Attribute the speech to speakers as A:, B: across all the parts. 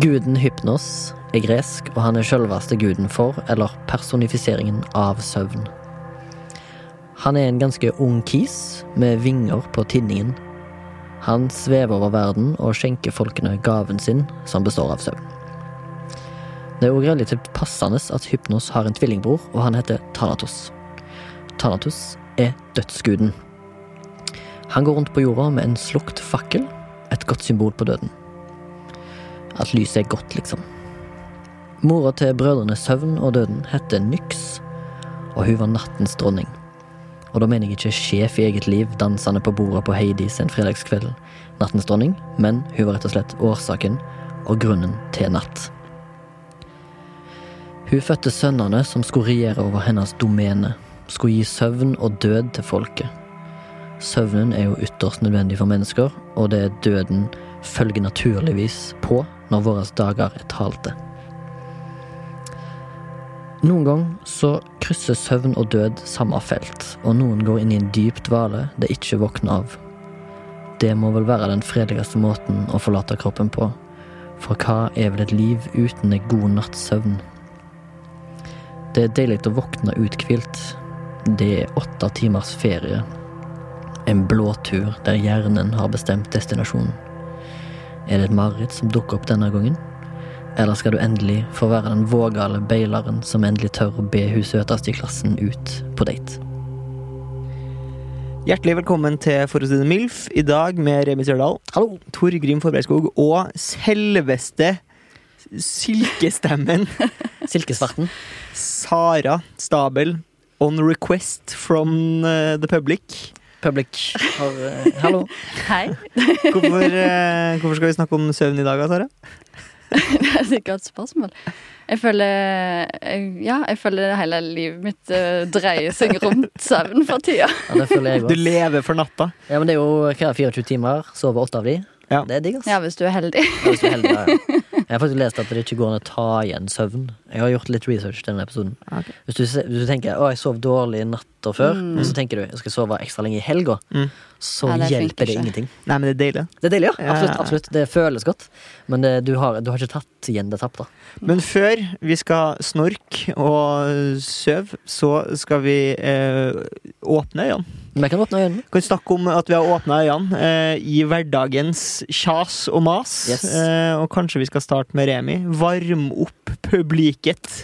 A: Guden Hypnos er gresk, og han er selveste guden for, eller personifiseringen av, søvn. Han er en ganske ung kis, med vinger på tinningen. Han svever over verden og skjenker folkene gaven sin, som består av søvn. Det er òg relativt passende at Hypnos har en tvillingbror, og han heter Thanatos. Thanatos er dødsguden. Han går rundt på jorda med en slukt fakkel, et godt symbol på døden. At lyset er godt, liksom. Mora til brødrene Søvn og Døden heter Nyx, og hun var nattens dronning. Og da mener jeg ikke sjef i eget liv dansende på bordet på Hades en fredagskveld, nattens dronning, men hun var rett og slett årsaken og grunnen til natt. Hun fødte sønnene som skulle regjere over hennes domene, skulle gi søvn og død til folket. Søvnen er jo ytterst nødvendig for mennesker, og det er døden følger naturligvis på når våre dager er talte. Noen gang så krysser søvn og død samme felt, og noen går inn i en dyp dvale det ikke våkner av. Det må vel være den fredeligste måten å forlate kroppen på, for hva er vel et liv uten en god natts søvn? Det er deilig å våkne uthvilt. Det er åtte timers ferie. En blåtur der hjernen har bestemt destinasjonen. Er det et mareritt som dukker opp denne gangen? Eller skal du endelig få være den vågale beileren som endelig tør å be hun søteste i klassen ut på date?
B: Hjertelig velkommen til For å si det MILF. I dag med Remi Sørdal,
A: Hallo!
B: Tor Grim Forbergskog og selveste silkestemmen
A: Silkesvarten.
B: Sara Stabel. On request from eh, the public.
A: Public. Har, eh, hallo.
C: Hei.
B: Hvorfor, eh, hvorfor skal vi snakke om søvn i dag, da, Sara?
C: Det er et godt spørsmål. Jeg føler, eh, ja, jeg føler hele livet mitt eh, dreier seg rundt søvn for tida.
A: Ja, det føler jeg
B: Du
A: godt.
B: lever for natta.
A: Ja, men det er jo hva, 24 timer, sove åtte av de.
B: Ja.
A: Det er digg, ass.
C: Ja, hvis du er heldig.
A: Ja, hvis du er heldig, ja, ja. Jeg har faktisk lest at det ikke går an å ta igjen søvn. Jeg har gjort litt research til denne episoden.
B: Ok.
A: Hvis, du, se- hvis du tenker å, jeg sov dårlig natta før, og så tenker du jeg skal sove ekstra lenge i helga,
B: Mm.
A: så
C: Ja, det funker
A: hjelper det
C: ikke.
A: ingenting.
B: Nei, men det er deilig.
A: Det er deilig, ja.
B: Ja.
A: Absolutt. absolutt. Det føles godt. Men det, du, har, du har ikke tatt igjen det tapte.
B: Men før vi skal snorke og søve, så skal vi eh, åpne øynene.
A: Men jeg kan åpne øynene.
B: kan snakke om at vi har åpna øynene eh, i hverdagens kjas og mas.
A: Yes.
B: Eh, og kanskje vi skal starte med Remi. Varm opp publiket.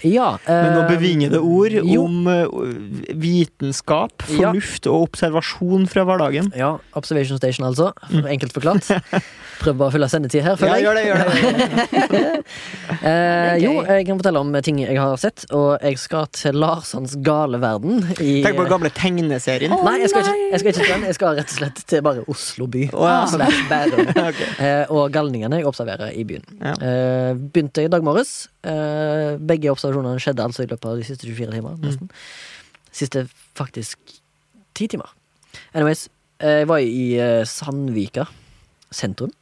A: Ja,
B: Med noen
A: eh,
B: bevingede ord
A: jo.
B: om eh, vitenskap,
A: Ja.
B: fornuft og observasjon fra hverdagen.
A: Ja, Observation Station, altså. For
B: Mm.
A: enkelt forklart. Prøv bare å fylle sendetid her, føler jeg.
B: gjør det, gjør det.
A: Eh,
C: Det er
A: jo,
C: gøy.
A: jeg kan fortelle om ting jeg har sett, og jeg skal til Larssons gale verden. I,
B: Tenk på den gamle tegneserien.
A: Nei, jeg skal, ikke, jeg skal ikke til den. Jeg skal rett og slett til bare Oslo by.
B: Å, ja.
A: Slash Bærum.
B: Ok.
A: Eh, og galningene jeg observerer i byen.
B: Ja.
A: Eh, begynte i dag morges. Eh, begge observasjonene skjedde altså i løpet av de siste 24 timer. Nesten. Siste faktisk 10 timer. Anyways, eh, jeg var i eh, Sandvika sentrum,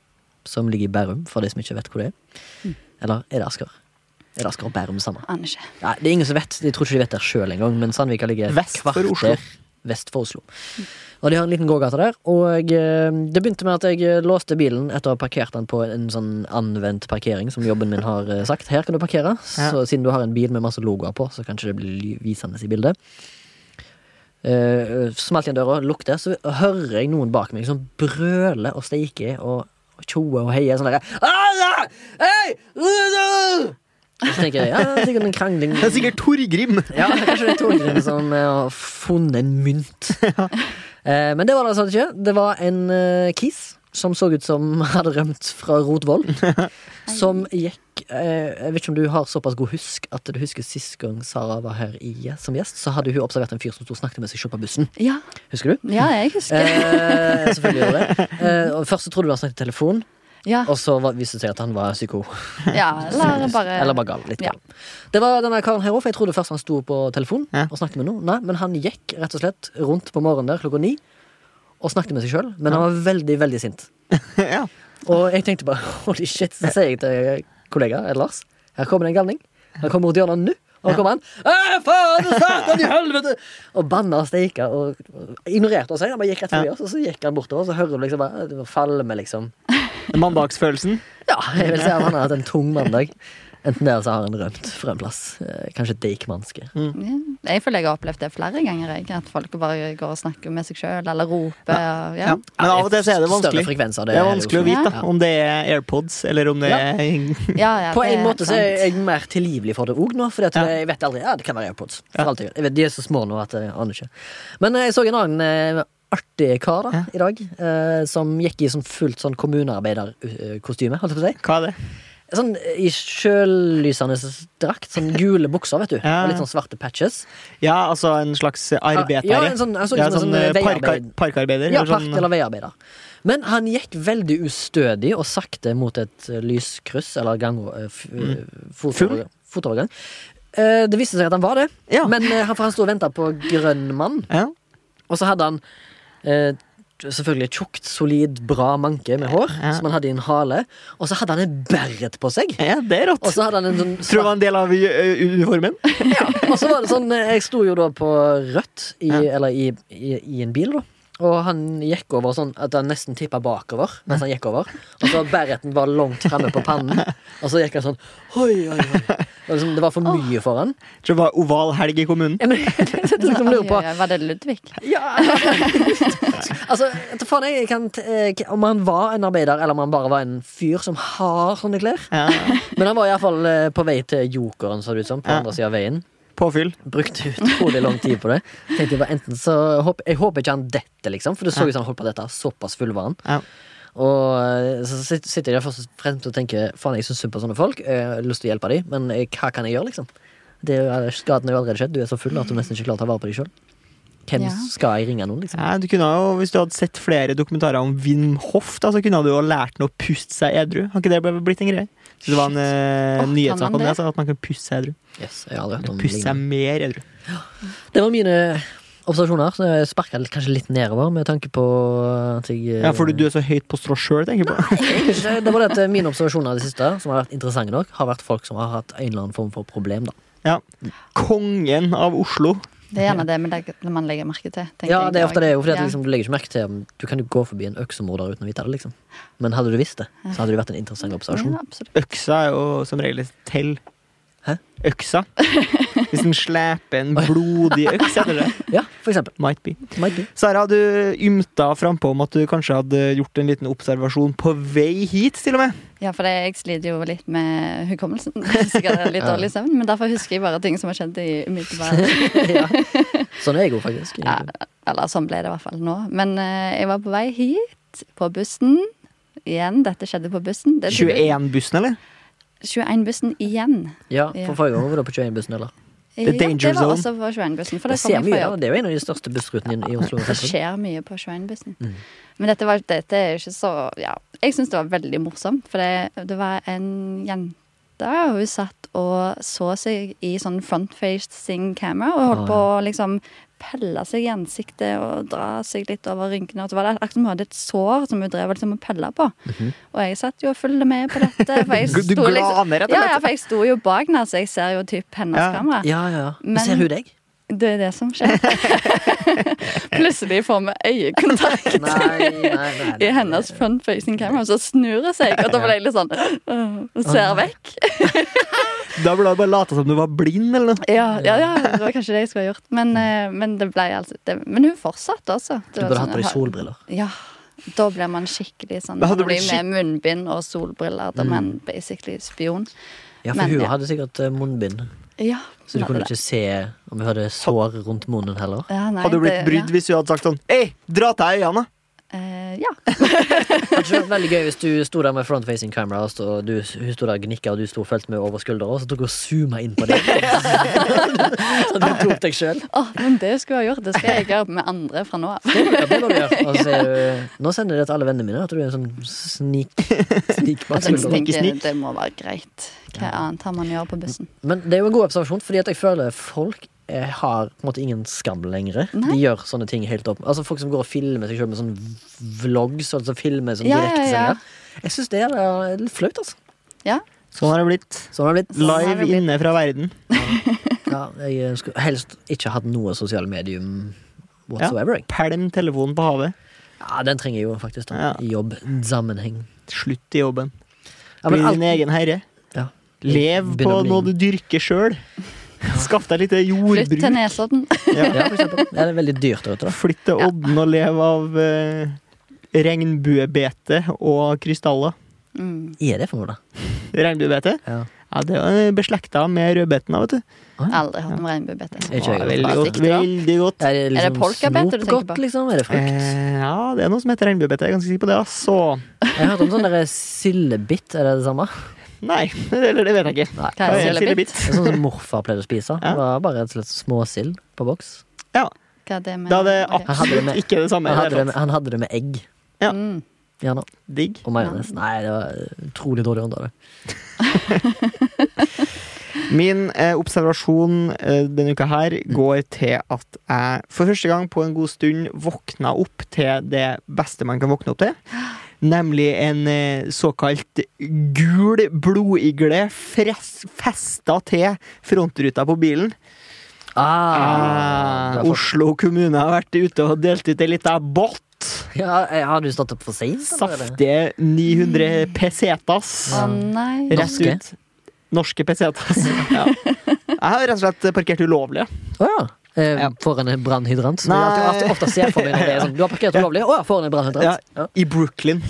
A: som ligger i Bærum, for de som ikke vet hvor det er. Eller er det Asker? Er det Asker og Bærum samme?
C: Aner ikke.
A: Nei, det er ingen som vet. De tror ikke de vet det sjøl engang, men Sandvika ligger et
B: Vest for
A: kvarter
B: Oslo.
A: vest for Oslo. Og de har en liten gågate der. Og eh, det begynte med at jeg eh, låste bilen etter å ha parkert den på en sånn anvendt parkering, som jobben min har eh, sagt. Her kan du parkere.
B: Ja.
A: Så siden du har en bil med masse logoer på, så kanskje det blir ly- visende i bildet. Eh, smalt igjen døra, lukter, så hører jeg noen bak meg som brøler og steiker og tjoer og heier sånn derre «Ara! Hei! Rudu!» Og Så tenker jeg ja, det er sikkert en krangling.
B: Det er sikkert Torgrim.
A: Ja, kanskje det er Torgrim som eh, har funnet en mynt. Eh, Men det var det altså ikke. Det var en eh, kis som så ut som hadde rømt fra Rotvoll. Som gikk eh, Jeg vet ikke om du har såpass god husk at du husker sist gang Sara var her i, eh, som gjest, så hadde hun observert en fyr som sto og snakket med seg selv på bussen.
C: Ja,
A: Husker du?
C: ja jeg husker.
A: Eh, selvfølgelig gjorde det. Eh, og først så trodde du han snakket i telefon.
C: Ja,
A: Og så var- viste det seg at han var psyko.
C: ja eller bare
A: Eller bare gal. Litt
C: Ja.
A: gal. Det var denne karen her òg, for jeg trodde først han sto på telefon
B: Ja.
A: og snakket med noen. Nei, men han gikk rett og slett rundt på morgenen der klokka ni og snakket med seg sjøl. Men han var veldig, veldig sint.
B: ja.
A: Og jeg tenkte bare holy shit, så sier jeg til kollega eh, Lars Her kommer det en galning. Han kommer ut hjørnet nå. Og her kommer han. «Æ, faen, satan i helvete! Og banna og steika og og ignorerte oss. Han bare gikk rett forbi oss, og så gikk han bortover. Og så hører du liksom bare det var falme, liksom.
B: Mandagsfølelsen.
A: Ja, jeg vil si at han har hatt en tung mandag. Enten det, eller så har han rømt fra en plass. Eh, Kanskje Deichmanske.
C: Ja. Jeg føler jeg har opplevd det flere ganger, jeg. At folk bare går og snakker med seg sjøl, eller roper. og- Ja.
B: Ja. Men av og til så er det
A: Større
B: vanskelig.
A: frekvens av
B: Det
A: det.
B: er vanskelig å
C: Ja.
B: vite da, om det er AirPods eller om det
A: Ja.
B: er
C: Ja, ja,
A: På
C: det
A: en
C: er
A: måte så
C: sant.
A: er jeg mer tilgivelig for det òg nå. For
B: Ja.
A: jeg vet aldri, ja, det kan være AirPods. For
B: Ja.
A: alt jeg, vet. jeg vet, De er så små nå at jeg aner ikke. Men jeg så en annen eh, artig kar da,
B: Ja.
A: i dag, eh, som gikk i sånn fullt sånn kommunearbeiderkostyme. Holdt jeg på å si.
B: Hva er det?
A: Sånn eh, I sjølysende drakt. Sånn gule bukser, vet du.
B: Ja.
A: Og litt sånn svarte patches.
B: Ja, altså en slags arbeider.
A: Ja, en sånn, han så ut
B: Ja,
A: som en sånn,
B: sånn, eh,
A: eh,
B: parkar-
A: veiarbeid-
B: parkarbeider.
A: Ja,
B: eller sånn-
A: park- eller veiarbeider. Men han gikk veldig ustødig og sakte mot et eh, lyskryss eller gang, eh, f- eh,
B: Mm. Full?
A: fotovergang. fotovergang. Eh, Det viste seg at han var det,
B: Ja.
A: men eh, han, for han sto og venta på grønn mann.
B: ja.
A: Og så hadde han eh, selvfølgelig tjukt, solid, bra manke med hår,
B: Ja.
A: som han hadde i en hale. Og så hadde han en beret på seg.
B: ja, det er rått.
A: Og så hadde han en sånn
B: Tror du det var en del av eh, uniformen?
A: ja, og så var det sånn eh, Jeg sto jo da på rødt i,
B: Ja.
A: Eller i, i, i en bil da Og han gikk over sånn At han nesten tippet bakover Mens han gikk over Og så bereten var langt fremme på pannen Og så gikk han sånn Oi, oi, oi Det var, liksom, det var for mye for han
B: Tror du det var oval helg i kommunen?
A: Jeg mener, jeg liksom lurer på
C: Oi, oi, oi, Var det Ludvig?
A: ja, Altså, vet du faen jeg kan t- eh, k- Om han var en arbeider Eller om han bare var en fyr som har sånne klær
B: Ja.
A: Men han var i hvert fall eh, på vei til jokeren Så det ut som, på
B: Ja.
A: andre siden av veien
B: Påfyll.
A: brukte utrolig lang tid på det. Tenkte Jeg bare, enten så håp, Jeg håper ikke han detter, liksom, for det så ut som han holdt på å dette. Såpass full var han.
B: Ja.
A: Og eh, så sit- sitter jeg der først og fremst og tenker faen, jeg syns synd på sånne folk. Jeg har lyst til å hjelpe dem, men jeg, hva kan jeg gjøre, liksom? Det er jo, skaden er jo allerede skjedd. Du er så full at du nesten ikke klarer å ta vare på deg sjøl. Hvem
C: Ja.
A: skal jeg ringe noen, liksom?
B: Ja, du kunne jo, hvis du hadde sett flere dokumentarer om Wim Hof, da, så kunne du jo lært ham å puste seg edru. Har ikke det bare blitt en greie? Så det var en eh,
C: Åh, kan
B: nyhetssak
C: man
B: om det,
C: det?
B: så at man kan puste seg edru.
A: Yes, jeg har aldri hørt om
B: Puste seg
A: lignende.
B: mer edru.
A: Det var mine observasjoner. Så jeg sparka kanskje litt nedover med tanke på at jeg
B: Ja, fordi du er så høyt på strå sjøl, tenker jeg på.
A: Egentlig ikke. Det var det at mine observasjoner av det siste, som har vært interessante nok, har vært folk som har hatt en eller annen form for problem, da.
B: Ja. Kongen av Oslo.
C: Det er gjerne det man legger, man legger merke til. tenker
A: Ja,
C: jeg
A: det er ofte det, jo, fordi at
C: Ja.
A: liksom, du legger ikke merke til om- Du kan jo gå forbi en øksemorder uten å vite det, liksom. Men hadde du visst det, så hadde det vært en interessant observasjon.
C: Ja, absolutt.
B: Øksa er jo som regel et tell.
A: Hæ?
B: Øksa. Hvis en sleper en blodig øks etter det.
A: Ja, for eksempel.
B: Might be.
A: Might be.
B: Sara, du ymta frampå om at du kanskje hadde gjort en liten observasjon på vei hit, til og med.
C: Ja, for det, jeg sliter jo litt med hukommelsen. Sikkert litt
A: Ja.
C: dårlig søvn, men derfor husker jeg bare ting som har skjedd i umiddelbar
A: ja. Sånn er jeg jo faktisk.
C: ja, Eller sånn ble det i hvert fall nå. Men eh, jeg var på vei hit, på bussen. Igjen, dette skjedde på bussen. Det er tydeligvis-
B: 21-bussen, eller?
C: 21-bussen igjen.
A: Ja,
C: Ja.
A: for forrige gang var det på 21-bussen, eller?
C: Ja,
B: danger
C: det var
B: zone.
C: også på 21-bussen. For
A: Det
C: det kom
A: ser
C: jeg fra
A: mye, da.
C: jobb.
A: Det er jo en av de største bussrutene i- i Oslo.
C: Det skjer mye på 21-bussen.
B: Mm.
C: Men dette, var, dette er ikke så Ja. Jeg syns det var veldig morsomt, for det, det var en jente. og hun satt og så seg i sånn front-facing camera og holdt
A: Å,
C: på å liksom pelle seg i ansiktet og dra seg litt over rynkene. Og så var det akkurat som hun hadde et sår som hun drev og liksom og pella på.
A: Mhm.
C: Og jeg satt jo og fulgte med på dette. For jeg
B: Du- du
C: sto liksom,
B: glaner, rett og
C: ja,
B: slett.
C: ja, for jeg sto jo bak henne, så jeg ser jo typ hennes
B: Ja.
C: kamera.
A: Ja, ja, ja. Men
C: Ah. Men-
A: ser hun deg?
C: Det er det som skjer. Plutselig får vi øyekontakt
A: Nei, nei, nei.
C: i hennes front-facing camera, så snur jeg seg, og da ble jeg litt sånn øh, og Ser vekk.
B: Da burde du bare late som du var blind, eller noe.
C: Ja, ja, ja, det var kanskje det jeg skulle ha gjort. Men, eh, men det ble altså det, Men hun fortsatte, altså. Det
A: Du
C: var
A: burde
C: sånn-
A: hatt på deg solbriller.
C: Ja. Da blir man skikkelig sånn
B: Da hadde
C: Man
B: du
C: blir
B: blitt
C: med munnbind og solbriller. Da er man basically spion.
A: Ja, for
C: Men,
A: hun
C: ja.
A: hadde sikkert eh, munnbind.
C: Ja.
A: Så du
C: nei,
A: kunne
C: det-
A: ikke se om hun hadde sår rundt munnen heller?
C: ja, nei,
B: Hadde du blitt
C: det-
B: brydd hvis du hadde sagt sånn Ei, dra til deg øynene!
C: Ja. Eh, ja.
A: Hadde ikke det vært veldig gøy hvis du sto der med front-facing camera og stod, du, hun sto der og gnikka, og du sto og fulgte med over skuldra, og så tok hun og zooma inn på deg. Så du tok deg sjøl.
C: Åh, men det skulle jeg ha gjort. Det skal jeg gjøre med andre fra nå av.
A: Det må det må du gjøre. Og så er du- Nå sender jeg det til alle vennene mine. At du er en sånn snik...
C: Altså, jeg
B: Sneak,
A: snikbakgrunn.
B: sneak,
C: tenker,
B: sneak.
C: det må være greit. Hva annet har man gjør på bussen?
A: Men det er jo en god observasjon, fordi at jeg føler folk eh, har på en måte ingen skam lenger.
C: Nei.
A: De gjør sånne ting helt opp. Altså Folk som går og filmer seg selv med sånn v- vlogs og altså filmer som
C: Ja, ja, ja.
A: direktesendinger. Jeg syns det er eh, litt flaut, altså.
C: Ja,
B: Sånn har det blitt.
A: Sånn har det blitt.
C: Sånn har det
B: Live
C: blitt.
B: inne fra verden.
A: Ja, jeg eh, skulle helst ikke hatt noe sosiale medium whatsoever. jeg.
B: Pælm telefonen på havet.
A: Ja, Den trenger jeg jo faktisk. da
B: Ja.
A: I jobbsammenheng.
B: Slutt i jobben.
A: Ja,
B: Bli
A: men alt-
B: din egen herre.
A: ja.
B: Lev
A: Begynn
B: på
A: å bli-
B: noe du dyrker sjøl. Skaff deg litt
C: Flytt
B: jordbruk.
C: til Nesodden.
A: Ja, for eksempel. Ja, det er veldig dyrt der ute, da.
B: Flytt til Odden og lev av eh, regnbuebete og krystaller.
C: Mm.
A: Er det for noe, da?
B: Regnbuebete?
A: Ja.
B: Ja, det er jo beslekta med rødbetene, vet du.
C: Aldri hørt om regnbuebete.
A: Er ikke jeg
B: Ja,
A: godt.
B: veldig
C: Bare
B: godt.
C: sikte, da.
B: Veldig godt.
A: Er det, liksom
C: polkabete du tenker
A: snopgodt,
C: på?
A: Liksom? Er det frukt?
B: Eh, ja, det er noe som heter regnbuebete. Jeg er ganske sikker på det. Altså.
A: Jeg hørte om sånn derre sildebitt. Er det det samme?
B: Nei, eller det vet jeg ikke.
A: Nei.
C: Hva
B: Hva er
C: er sildebitt?
A: Det er sånn som morfar pleide å spise.
B: Ja.
A: Det var bare rett og slett småsild på boks.
B: Ja,
C: Hva er det med
B: Da er det
C: Ok.
A: Han hadde det
B: absolutt
A: med-
B: ikke det
A: Han
B: samme. i det
A: hadde det
B: hele
A: med, han hadde det med egg.
B: ja.
C: Mm.
A: Gjerne.
B: tatt. Digg.
A: Og majones. Nei, det var utrolig dårlig hånd av det.
B: Min eh, observasjon eh, denne uka her går til at jeg for første gang på en god stund våkna opp til det beste man kan våkne opp til. Nemlig en eh, såkalt gul blodigle fress, festa til frontruta på bilen.
A: Ah,
B: Eh,
A: det var for-
B: Oslo kommune har vært ute og delt ut ei lita bott.
A: ja, eh, har du stått opp for seint?
B: Saftige 900 pesetas.
C: Å
A: Mm.
C: nei.
A: Ja.
B: Rett
A: Mm. Ah. Norske?
B: ut. Norske pesetas. Ja. Jeg har rett og slett parkert ulovlig.
A: Å ja. Eh,
B: Ja.
A: Foran en brannhydrant. Som jeg
B: Nei.
A: alltid, alltid, ofte ser for meg når det er sånn. Du har parkert ulovlig. Å ja, foran en brannhydrant. Ja.
B: I Brooklyn.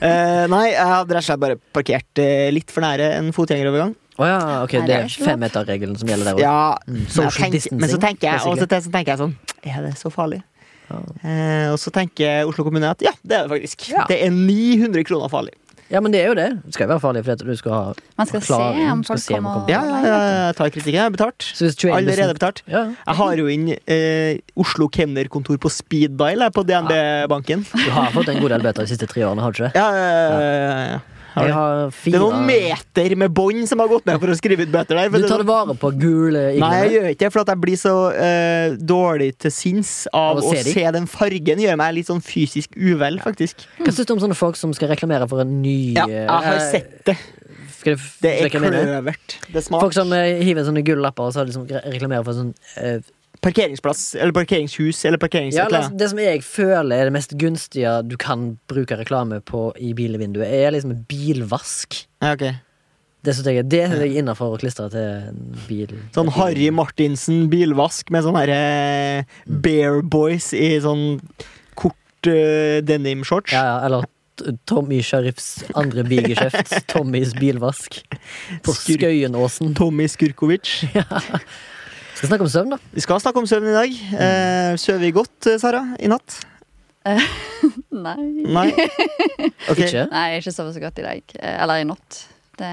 B: Eh, nei, jeg hadde rett og slett bare parkert eh, litt for nære en fotgjengerovergang.
A: Å ja, ok,
C: Nei,
A: det
C: det er
A: er
C: ikke lov.
A: femmeterregelen som gjelder der òg.
B: Ja, men,
A: Mm. Social
B: jeg tenker, men så
A: distancing,
B: tenker jeg, og så,
A: basically.
B: ten- så tenker jeg sånn Er det så farlig?
A: Ja.
B: Eh, og så tenker Oslo kommune at ja, det er det faktisk.
A: Ja.
B: Det er 900 kroner farlig.
A: Ja, men det er jo det. Det skal jo være farlig, for at du skal ha
C: Man skal
A: forklaring.
C: se om
A: Du skal
C: folk
A: se om
C: kommer-
A: kommer.
B: Ja, ja, ja, jeg tar kritikken. Jeg har betalt.
A: Så hvis 21
B: Allerede betalt.
A: Ja.
B: Jeg har jo inn eh, Oslo kemnerkontor på speed dial jeg, på DNB-banken.
A: Du har fått en god del bøter de siste tre årene, har du ikke det?
B: Ja, ja, ja, ja, ja.
A: Jeg har
B: Det
A: fire
B: er noen meter med bånd som har gått med for å skrive ut bøter der. for
A: Du
B: det
A: tar
B: er
A: det vare på gule
B: Nei, jeg
A: iglene?
B: gjør ikke det, for at jeg blir så eh, dårlig til sinns av
A: Av å
B: å
A: se de?
B: se den fargen. Gjør meg litt sånn fysisk uvel, faktisk.
A: Hva syns du om sånne folk som skal reklamere for en ny
B: Ja, jeg har
A: eh,
B: sett det.
A: Skal jeg f-
B: Det er
A: hva jeg mener?
B: kløvert. Det er
A: Folk
B: smart.
A: som eh, hiver sånne gullapper og så liksom re- reklamerer for sånn eh,
B: Parkeringsplass, eller parkeringshus, eller parkerings...
A: ja, eller Det som jeg føler er det mest gunstige du kan bruke reklame på i bilvinduet, er liksom bilvask.
B: Ja, ok.
A: Det syns jeg er, det synes jeg er innafor å klistre til en bil.
B: Sånn Harry Martinsen bilvask med sånn herre Bear Boys i sånn kort eh, denim-shorts.
A: Ja, ja, eller t- Tommy Sheriffs andre bigeskjeft. Tommys bilvask. På
B: Skurk.
A: Skøyenåsen.
B: Tommy Skurkovic.
A: Skal snakke om søvn, da.
B: Vi skal snakke om søvn i dag.
A: Mm.
B: Eh, Søver vi godt, eh, Sara, i natt?
C: Nei.
B: Nei? Ok.
A: Ikke?
C: Nei, jeg har ikke sovet så godt i dag. Eh, Eller i natt. Det,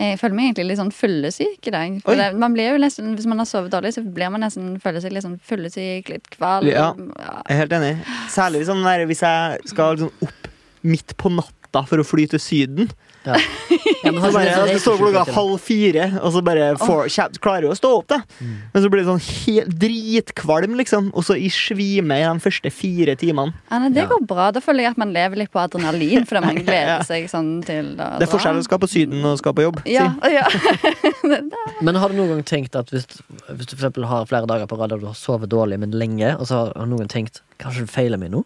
C: jeg føler meg egentlig litt sånn fyllesyk i dag. For
B: Oi.
C: det, man blir jo nesten, hvis man har sovet dårlig, så blir man nesten føler seg litt sånn fyllesyk, litt kvalm.
B: Ja.
C: Ja.
B: Jeg er helt enig. Særlig hvis, sånn der, hvis jeg skal liksom opp midt på natta for å fly til Syden.
A: Ja. Ja, men
B: Så
A: har
B: bare,
A: ikke det- sånn
B: jeg skal stå opp klokka halv fire, og så bare får, kje- klarer jeg å stå opp, da. Men så blir det sånn helt dritkvalm, liksom. Og så i svime i de første fire timene.
C: Ja, nei, det
A: Ja.
C: går bra. Da føler jeg at man lever litt på adrenalin, fordi man gleder seg sånn til å
B: Det er
C: dra.
B: forskjell å skal på Syden og skal på jobb. si.
C: Ja, ja.
A: Men har du noen gang tenkt at hvis, hvis du for eksempel har flere dager på rad og du har sovet dårlig, men lenge, og så har noen tenkt kanskje det feiler meg nå?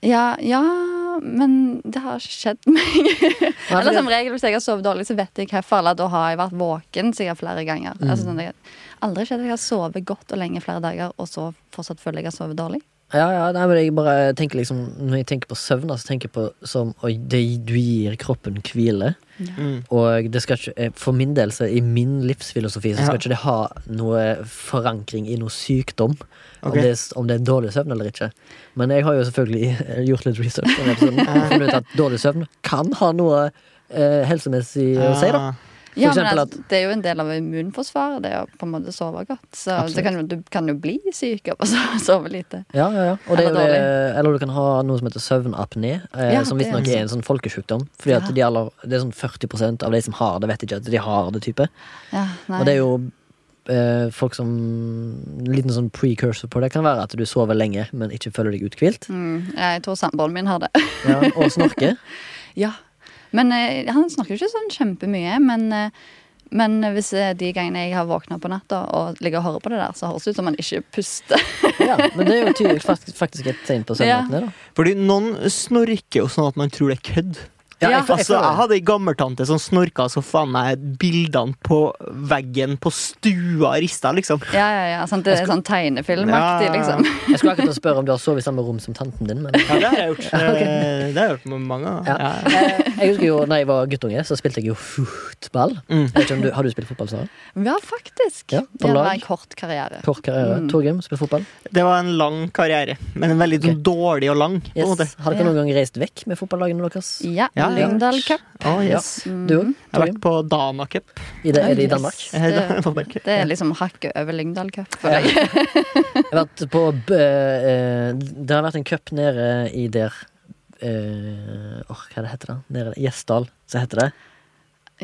C: ja, ja, men det har ikke skjedd meg.
A: Nei,
C: Eller
A: fordi-
C: som regel, hvis jeg har sovet dårlig, så vet jeg hvorfor. Eller da har jeg vært våken sikkert flere ganger.
A: Mm.
C: Altså, sånn, det har aldri skjedd at jeg har sovet godt og lenge flere dager, og så fortsatt føler jeg at jeg har sovet dårlig.
A: Ja, ja, nei, men jeg bare tenker liksom Når jeg tenker på søvn, da, så tenker jeg på som oi, det, Du gir kroppen hvile.
B: Mm.
A: Og det skal ikke, eh, for min del, så i min livsfilosofi, så skal
B: Ja.
A: ikke det ha noe forankring i noe sykdom. Om,
B: Ok.
A: det, er s- om det er dårlig søvn eller ikke. Men jeg har jo selvfølgelig eh, gjort litt research på denne episoden og funnet ut at dårlig søvn kan ha noe eh, helsemessig å si. da
B: Ah.
C: Ja, men
A: eksempel
C: altså, det er jo en del av immunforsvaret, det å på en måte sove godt. Så
A: Absolutt.
C: det kan, jo- du kan jo bli syk av å so- sove lite.
A: Ja, ja, ja. Og det er jo
C: Eller
A: det, eller du kan ha noe som heter søvnapné, eh,
C: Ja,
A: som
C: det
A: visstnok
C: er
A: er en sånn folkesjukdom. Fordi at
C: Ja.
A: de aller, det er sånn 40 av de som har det, vet ikke at de har det. type
C: Ja, nei.
A: Og det er jo eh, folk som En liten sånn precursor på det kan være at du sover lenge, men ikke føler deg uthvilt.
C: mm, jeg tror samboeren min har det.
A: Ja, og snorker.
C: Ja. Men eh, han snakker jo ikke sånn kjempemye. Men, eh, men hvis eh, de gangene jeg har våkna på natta og ligger og hører på det der, så høres det ut som han ikke puster.
A: Ja, men det er jo tydelig, faktisk, faktisk et tegn på søvnapné, da.
B: Fordi noen snorker jo sånn at man tror det er kødd.
A: Ja,
C: Ja.
A: jeg, jeg,
B: Altså, jeg
A: føler det.
B: hadde ei gammeltante som snorka så faen meg bildene på veggen på stua rista, liksom.
C: Ja, ja, ja, sant? Det er sånn tegnefilmaktig,
B: Ja.
C: liksom.
A: jeg skulle akkurat til å spørre om du har sovet i samme rom som tanten din, men
B: Ja, det har jeg gjort. Eh, Det har jeg gjort med mange ganger.
A: Ja.
B: Ja.
A: Eh, Jeg husker jo, da jeg var guttunge, så spilte jeg jo fotball.
B: Mm.
A: Jeg vet ikke om du, har du spilt fotball, Sara?
C: Ja, faktisk.
A: Ja, på
C: det var
A: lag.
C: en kort karriere.
A: Kort karriere.
C: Mm.
A: Torgrim, spilt fotball.
B: Det var en lang karriere, men en veldig sånn dårlig og lang. på en
A: Yes.
B: måte.
A: Har dere noen gang reist vekk med fotballagene deres?
C: Ja,
B: Ja, ja.
C: Lyngdal Cup. Mm.
B: Å, yes.
A: Du òg,
B: Jeg har vært
A: Torgrim?
B: på Dana Cup. Eh,
A: I det, er det i
C: Yes.
A: Danmark?
B: Jeg heter Danmark.
C: Det er liksom hakket over Lyngdal Cup. for
A: Ja.
C: deg.
A: Jeg har vært på b- eh, Det har vært en cup nede i der eh, Åh, hva er det heter det? Nede i Gjesdal, så heter det.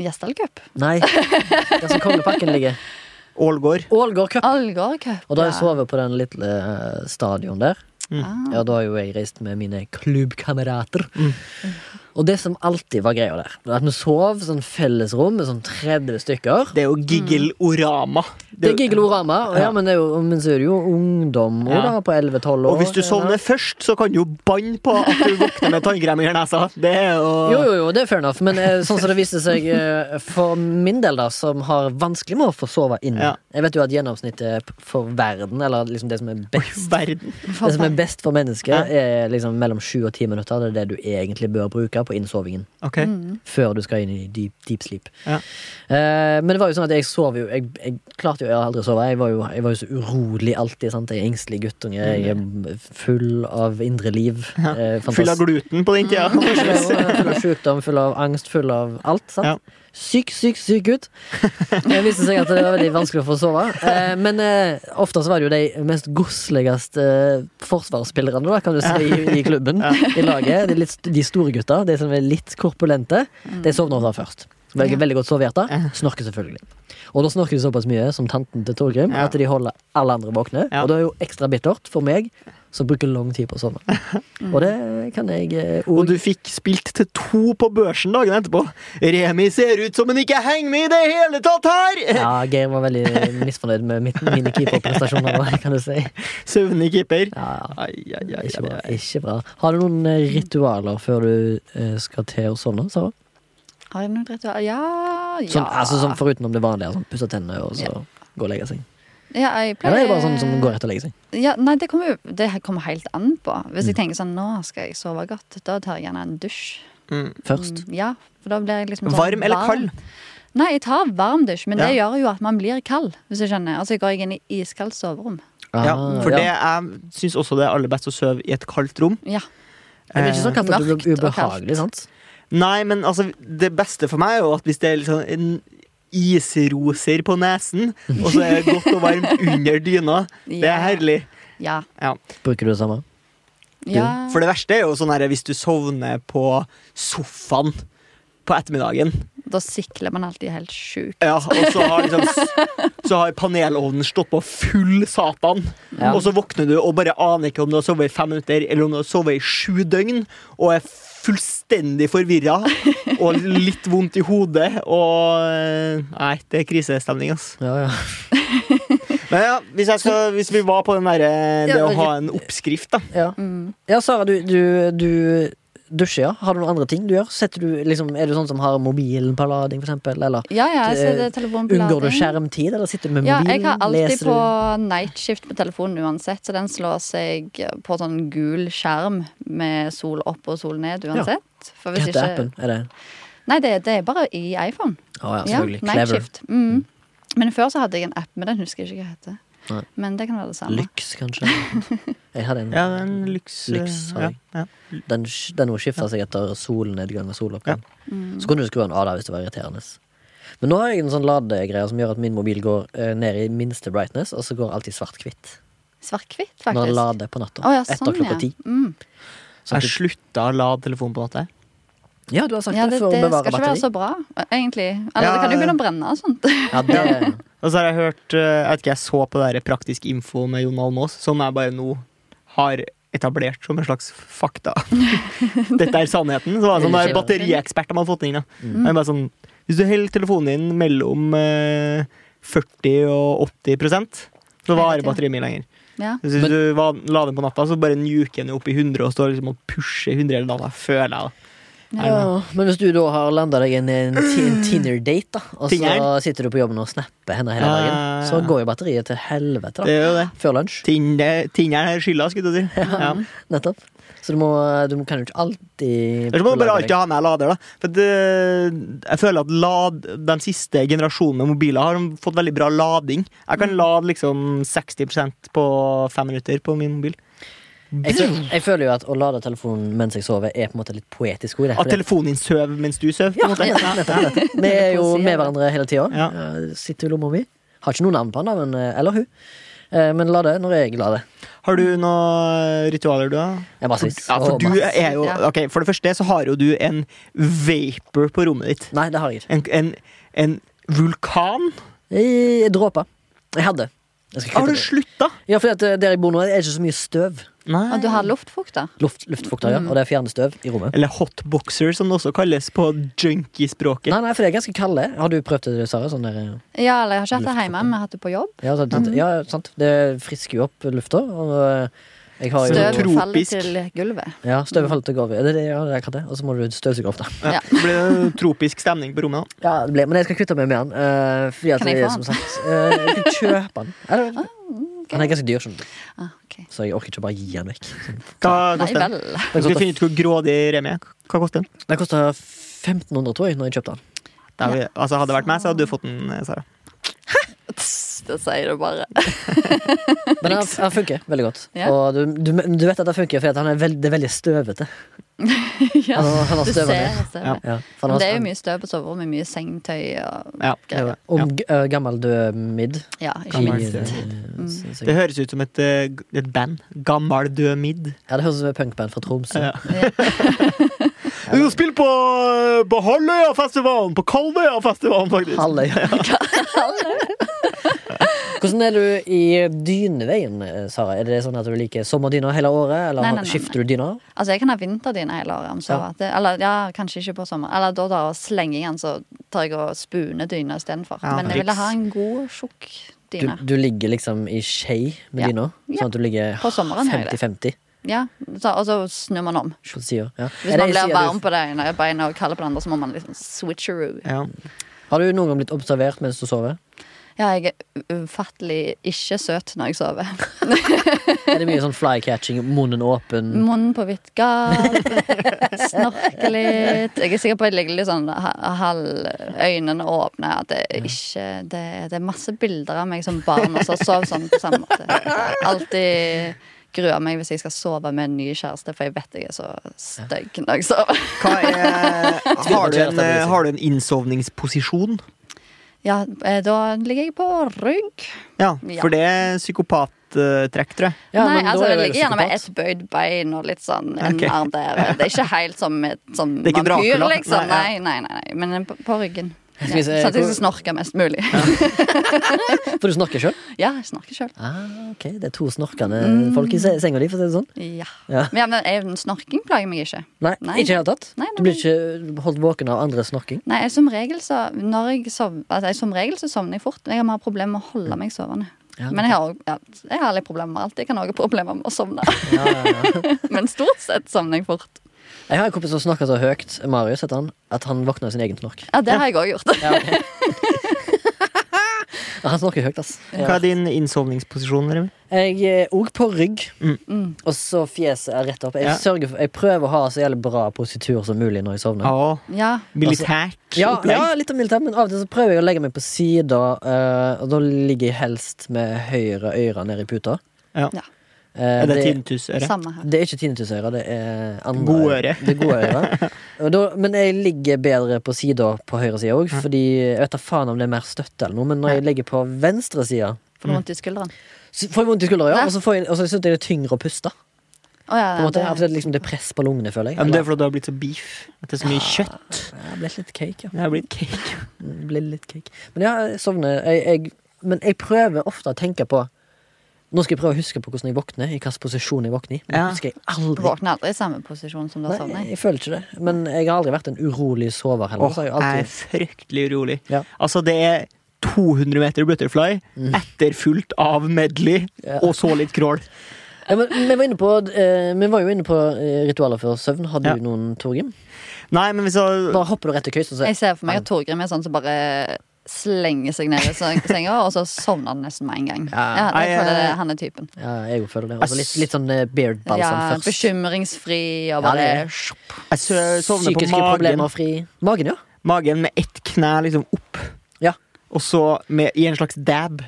C: Gjesdal Cup.
A: Nei, der som Kongeparken ligger.
B: Ålgård.
A: Ålgård cup.
C: Algar Cup.
A: Og da har jeg
C: ja.
A: sovet på den lille eh, stadion der.
C: Ah,
A: Ja, da har jo jeg reist med mine klubbkamerater.
B: Mm.
A: Og det som alltid var greia der, var at vi sov sånn fellesrom med sånn 30 stykker.
B: Det er jo Giggelorama.
A: Mm. Det er giggelorama, og ja,
B: Ja.
A: men, det er jo, men så er det jo ungdom også,
B: Ja.
A: da, på 11-12 år.
B: Og hvis du sovner først, så kan du jo banne på at du våkner med tannkrem i nesa. Det er
A: Jo,
B: jo
A: jo, jo, det er fair enough, men eh, sånn som det viste seg eh, for min del, da, som har vanskelig med å få sove inne
B: Ja.
A: Jeg vet jo at gjennomsnittet for verden, eller liksom det som er best
B: verden.
A: det som er
C: forbann.
A: best for
B: Ja.
A: mennesket, er liksom mellom sju og ti minutter. Det er det du egentlig bør bruke på innsovingen.
B: Ok.
C: Mm.
A: før du skal inn i deep, deep sleep.
B: Ja.
A: Eh, men det var jo sånn at jeg sov jo Jeg, jeg klarte jo jeg har aldri å sove. Jeg var, jo, jeg var jo så urolig alltid. Sant? Jeg er engstelig guttunge. Jeg er full av indre liv. eh, fantas-
B: Mm. Full av gluten på den tida.
A: Mm. Full av sjukdom, full av angst, full av alt. Sant?
B: Ja.
A: Syk, syk, syk gutt. Det viste seg at det var veldig vanskelig å få sove. Eh, Men eh, ofte så var det jo de mest godsligste eh, forsvarsspillerne, da, kan du si, i- i klubben. I laget. De, litt, de store gutta, de som er litt korpulente,
B: Mm.
A: de sovner ofte først. Velger
C: Ja.
A: veldig godt sovehjerte. Snorker selvfølgelig. Og da snorker de såpass mye som tanten til Torgrim
B: Ja.
A: at de holder alle andre våkne.
B: Ja.
A: Og det er jo ekstra bittert for meg, som bruker lang tid på å sovne. Og det kan jeg eh,
B: Og
A: og-
B: du fikk spilt til to på børsen dagen etterpå. Remi ser ut som han ikke henger med i det hele tatt her!
A: Ja, Geir var veldig misfornøyd med mitt, mine keeperprestasjoner. nå, kan du si.
B: Søvnig
A: Ja,
B: keeper.
A: ja.
B: Ai, ai, ai,
A: Ikke bra.
B: ai, ai.
A: ikke bra Har du noen eh, ritualer før du eh, skal til å sovne? Sara?
C: Har jeg noe ritual? Ja, ja.
A: Sånn, altså, sånn Foruten om det vanlige. Sånn, Pusse tennene og så gå og legge seg.
C: ja, jeg pleier
A: Eller er det bare sånn som går rett og legger seg?
C: Ja, nei, det kommer, jo- det kommer helt an på. Hvis jeg tenker sånn, nå skal jeg sove godt, da tar jeg gjerne en dusj.
B: Mm.
A: Først.
C: Mm, Ja, for da blir jeg liksom sånn
B: Varm eller
C: varm.
B: kald?
C: Nei, jeg tar varm dusj, men det
B: Ja.
C: gjør jo at man blir kald, hvis du skjønner. Altså, jeg går inn i iskaldt soverom.
B: Mm. Ja,
A: Ah,
B: for
A: ja.
B: det jeg syns også det er aller best å sove i et kaldt rom.
C: Ja.
A: Men det er ikke sånn kaldt at det blir
C: Mørkt og kaldt.
A: ubehagelig, sant?
B: Nei, men altså, det beste for meg er jo at hvis det er liksom en isroser på nesen, og så er det godt og varmt under dyna, det er herlig.
C: Ja.
A: Bruker du det samme?
C: ja.
B: For det verste er jo sånn her hvis du sovner på sofaen på ettermiddagen,
C: Da sikler man alltid helt sjukt.
B: ja, og så har, liksom, s- så har panelovnen stått på full satan,
A: Ja.
B: og så våkner du og bare aner ikke om du har sovet i fem minutter, eller om du har sovet i sju døgn, og er fullstendig forvirra, og litt vondt i hodet, og eh, Nei, det er krisestemning, ass.
A: Ja, ja.
B: Men ja, hvis, jeg skal, hvis vi var på den derre det
A: Ja,
B: å
A: ok.
B: ha en oppskrift, da.
A: Ja, ja Sara, du, du, du dusjer, ja. Har du noen andre ting du gjør? Setter du, liksom, er du sånn som har mobilen på lading, for eksempel? Eller
C: Ja, ja, jeg
A: Det-
C: setter telefonen på
A: unngår du
C: lading.
A: skjermtid, eller sitter du med
C: Ja,
A: mobilen?
C: jeg har alltid
A: Leser du?
C: på nightshift på telefonen uansett, så den slår seg på sånn gul skjerm med sol opp og sol ned uansett. For
A: Hva
C: hvis
A: heter
C: ikke
A: appen? Er det?
C: Nei, det, det er bare i iPhone.
A: Å ja,
C: Ja,
A: selvfølgelig. Clever.
C: nightshift. Mm. Men før så hadde jeg en app, men den husker jeg ikke hva heter.
A: Nei.
C: Men det kan være det samme.
A: Lyx, kanskje. Jeg hadde en
B: Ja, den lyks... eh,
A: Lyks, har
B: ja,
A: jeg.
B: ja.
A: Den, sk- den skifta seg etter solnedgang og soloppgang.
B: Ja.
C: Mm.
A: Så kunne du skru den av da, hvis det var irriterende. Men nå har jeg en sånn ladegreie som gjør at min mobil går eh, ned i minste brightness, og så går alltid svart-hvitt
C: Svart-hvitt,
A: når den
C: faktisk.
A: lader på natta.
C: Å, ja,
A: etter
C: sånn,
A: klokka
C: ja.
A: ti.
C: Mm.
A: Sånn at
B: Jeg slutta å lade telefonen på natta.
A: du- Ja, du har sagt
C: Ja,
A: det,
C: det,
A: for
C: det
A: å
C: skal
A: bevare
C: ikke være
A: batteri.
C: så bra, egentlig. Eller det
B: Ja,
C: kan jo
B: ja.
C: begynne å brenne og sånt.
A: Ja, det,
B: Og så har jeg hørt eh, Jeg vet ikke, jeg så på det der Praktisk info med Jon Almaas, som jeg bare nå har etablert som en slags fakta. Dette er sannheten. Så var det sånn der batteriekspert de hadde fått inn. Da. Det er bare sånn, hvis du holder telefonen din mellom eh, 40 og 80 så varer batteriet mye lenger.
C: Ja.
B: Hvis
A: Men-
B: du va- la den på natta, så bare nuker den jo opp i 100 og står liksom og pusher 100 hele natta, føler jeg. da.
A: ja, men hvis du da har landa deg en, en, ti- en Tinder-date, da, og så
B: Mm. Tinder?
A: sitter du på jobben og snapper henne hele
B: Ja,
A: dagen,
B: ja, ja.
A: så går jo batteriet til helvete,
B: Det
A: da.
B: er jo det.
A: Før lunsj,
B: Tinder- Tinderen er skylda, skulle du si. Ja.
A: nettopp. Så du må, du kan jo ikke alltid
B: Eller så må du bare
A: lade
B: alltid
A: deg.
B: ha med lader, da. For det, jeg føler at lad, den siste generasjonen med mobiler har fått veldig bra lading. Jeg kan lade liksom 60 på fem minutter på min mobil.
A: jeg, føl- jeg føler jo at å lade telefonen mens jeg sover, er på en måte litt poetisk ord. jeg,
B: At
A: fordi-
B: telefonen din sover mens du sover. på en måte.
A: nettopp, nettopp, nettopp. Vi er jo med hverandre hele tida.
B: Ja.
A: Sitter i lomma mi. Har ikke noe navn på han, da, men, eller hun. Eh, Men la det når jeg er glad. det.
B: Har du noen ritualer, du, da?
A: Jeg bare synes,
B: Ja, for
A: å,
B: du
A: masse.
B: er jo
C: ja.
B: Ok, for det første så har jo du en vapor på rommet ditt.
A: Nei, det har jeg ikke.
B: En, en, en vulkan.
A: Jeg dråper. Jeg hadde. Jeg skal
B: Har du
A: klippe det.
B: slutta?
A: Ja, fordi at eh, Der jeg bor nå, er det ikke så mye støv.
B: Nei.
C: Og du har luftfukt, da.
A: Luft, luftfukter, ja. Og det er fjerner støv i rommet.
B: Eller hotboxer, som det også kalles på junkiespråket.
A: Nei, nei, for det er ganske kalde. Har du prøvd det, Sara? Sånn der, eh,
C: Ja, eller jeg har ikke hatt det hjemme, men jeg har hatt det på jobb.
A: ja, sånn, ja, sant. Det frisker jo opp lufta. Og eh, jeg har jo
B: Støv.
C: Støv
B: Tropisk.
C: faller til gulvet.
A: Ja, støvet faller til gulvet. Ja, det er det- Ja, det er akkurat det. Og så må du støvsuge ofte.
B: Ja.
C: Ja.
B: Det ble jo tropisk stemning på rommet. da.
A: Ja, det ble, men jeg skal kvitte meg med han. eh, fordi at
C: Kan jeg
A: det er
C: få
A: som
C: han?
A: sagt eh, Jeg kan kjøpe han. Eller, Han er ganske dyr, skjønner du.
C: Ah, ok.
A: Så jeg orker ikke bare gi han vekk.
B: Hva
C: Nei
B: koster den?
C: vel.
B: Vi skal finne ut hvor grådig Remi er. Hva koster den?
A: Den kosta 1500, tror jeg, når jeg kjøpte han.
B: Da har vi- Altså, hadde det vært meg, så hadde du fått den, eh, Sara.
C: Tss, Det sier du bare.
A: Men han, han funker veldig godt.
C: Ja.
A: Og du, du, du vet at det funker, for han er veld, det er veldig støvete.
C: Ja,
A: Han, har- han har
C: du
A: støvet
C: ser
A: ned.
C: støvet.
A: Ja, for han
C: Men
A: har- sånn-
C: det er jo mye støv på soverommet. Mye sengetøy og
B: Ja, det, er
C: greier.
B: det.
A: Om
B: ja.
A: g- eh, gammel død midd.
C: Ja, ikke Mm.
B: Gammel
C: minst.
B: død.
A: Det
B: det høres ut som et, eh, g- et band. Gammal død midd.
A: Ja, det høres ut som et punkband fra Tromsø.
B: Ja.
C: Ja.
B: Du spiller på, på Halvøyafestivalen! På Kalvøyafestivalen, faktisk!
A: Halvøya. Hvordan er du i dyneveien, eh, Sara? Er det sånn at du liker sommerdyna hele året? Eller
C: Nei, nei, nei,
A: skifter du dyna?
C: Altså, jeg kan ha vinterdyne hele året om så.
A: Ja.
C: at Det, eller ja, kanskje ikke på sommer. Eller da tar jeg og slenger den, så tar jeg og spuner dyna istedenfor.
B: Ja,
C: Men
B: triks.
C: jeg ville ha en god, tjukk
A: Du,
C: dyne.
A: du ligger liksom i skje med
C: Ja.
A: dyna?
C: Ja.
A: Sånn at du ligger
C: På sommeren er det.
A: 50-50
C: Ja, så, og så snur man om.
A: på sida? Ja.
C: Hvis
A: Er det
C: man
A: ei
C: blir
A: side
C: varm
A: du,
C: på det ene beinet og kald på det andre, så må man liksom switcheroo.
B: Ja.
A: har du noen gang blitt observert mens du sover?
C: Ja, jeg er ufattelig ikke søt når jeg sover.
A: Er det mye sånn flycatching, munnen åpen?
C: Munnen på vidt gap, snorke litt. Jeg er sikker på at jeg ligger litt sånn ha- halv øynene åpne. At det er ikke det, det er masse bilder av meg som barn og så sov sånn på samme måte. Alltid gruer meg hvis jeg skal sove med en ny kjæreste, for jeg vet jeg er så stygg når jeg sover.
B: Hva er, har, du en, eh, har du en innsovningsposisjon?
C: Ja, eh, da ligger jeg på rygg.
B: Ja, for det er psykopattrekk, tror jeg.
A: Ja,
C: Nei,
A: men da
C: altså
A: er
C: det
A: vel
C: ligger gjerne med
A: psykopat.
C: ett bøyd bein og litt sånn en
B: Ok.
C: arm der. Det er ikke helt som et som
B: Det er ikke
C: vampyr,
B: Dracula.
C: liksom.
B: Nei,
C: Nei, nei, nei, nei. Men på, på ryggen. Ja,
A: skal vi se
C: sånn at jeg
A: hvor-
C: skal snorke mest mulig.
A: For du snorker sjøl?
C: Ja, jeg snorker sjøl.
A: Ah, ok, det er to snorkende
C: Mm.
A: folk i se- senga di, for å si det sånn.
C: Ja.
A: Ja.
C: Men, ja, men jeg- snorking plager meg ikke.
A: Nei, ikke
C: Nei.
A: i det hele tatt?
C: Nei, nei,
A: Du blir ikke holdt våken av andres snorking?
C: Nei, jeg, som regel så Når jeg sov, altså, jeg, som regel så sovner jeg fort. Jeg har mer problemer med å holde meg sovende.
A: Ja,
C: Men jeg har, også- ja, jeg har litt problemer med alt. Jeg kan også ha problemer med å sovne.
A: Ja, ja, ja.
C: men stort sett sovner jeg fort.
A: Jeg har en kompis som snakker så høyt, Marius heter han, at han våkner av sin egen snork.
C: Ja, det har jeg òg gjort.
A: Ja, Han snorker høyt, ass.
B: Hva er din innsovningsposisjon, Remi?
A: Jeg er òg på rygg,
C: Mm.
A: og så fjeset er rett opp. Jeg,
B: Ja.
A: sørger for, jeg prøver å ha så jævlig bra positur som mulig når jeg sovner.
B: Ja,
C: Ja.
B: militært
A: Ja,
B: opplegg.
A: ja, litt av militær, men av og til så prøver jeg å legge meg på sida, eh, og da ligger jeg helst med høyre øre nede i puta.
B: Ja.
C: Ja.
A: Eh,
B: Er det
A: det-
B: tinntussøre?
C: Samme her.
A: Det er ikke tinnitusøre, det er andre
B: Godøre.
A: Det er godøre. Og da- Men jeg ligger bedre på sida på høyre side òg, fordi jeg vet da faen om det er mer støtte eller noe, men når jeg ligger på venstre side,
C: Får du vondt i skulderen?
A: så får jeg vondt i skuldra, ja,
C: Nei.
A: og så, får jeg- og så syns jeg det er tyngre å puste.
C: Å ja,
A: På en måte,
C: det-
A: Av og til liksom det er press på lungene, føler jeg.
B: Ja, men det er
A: Eller,
B: fordi du har blitt så beef. At det er så mye kjøtt.
A: jeg ble litt cake, ja.
B: Jeg har blitt cake.
A: Det ble litt cake. Men ja, jeg sovner. Jeg, jeg, men jeg prøver ofte å tenke på Nå skal jeg prøve å huske på hvordan jeg våkner, i hvilken posisjon jeg våkner i. Men
B: Ja.
A: det husker jeg aldri.
C: Våkner aldri i samme posisjon
B: sånn,
C: som da
A: Nei, altså-
C: sovner.
A: jeg føler ikke det. Men jeg har aldri vært en urolig sover heller.
B: Åh,
A: så har jeg
B: jeg er
A: alltid...
B: fryktelig urolig.
A: Ja. Mm.
B: Altså, det er 200 meter butterfly, etterfulgt av medley,
A: Ja.
B: og så litt crawl.
A: Ja, men, vi, var inne på, eh, vi var jo inne på eh, ritualer før søvn. Har du
B: Ja.
A: noen, Torgrim?
B: Nei, men hvis jeg
A: Bare hopper du rett til køys og så
C: Jeg ser for meg at Torgrim er sånn som bare slenger seg ned i seng- senga, og så sovner han nesten med en gang.
A: Ja. eh,
C: Ja,
B: Nei,
C: jeg føler det,
B: jeg-
C: han er typen.
A: Ja, jeg føler det. Og så litt, litt sånn eh, beard balsam
C: Ja,
A: først.
C: bekymringsfri og
A: Ja, det er
C: bare
A: det.
B: jeg sø- sovner på
A: Psykiske
B: magen,
A: problemer fri. Magen, ja.
B: magen med ett kne liksom opp,
A: Ja.
B: og så med, i en slags dab.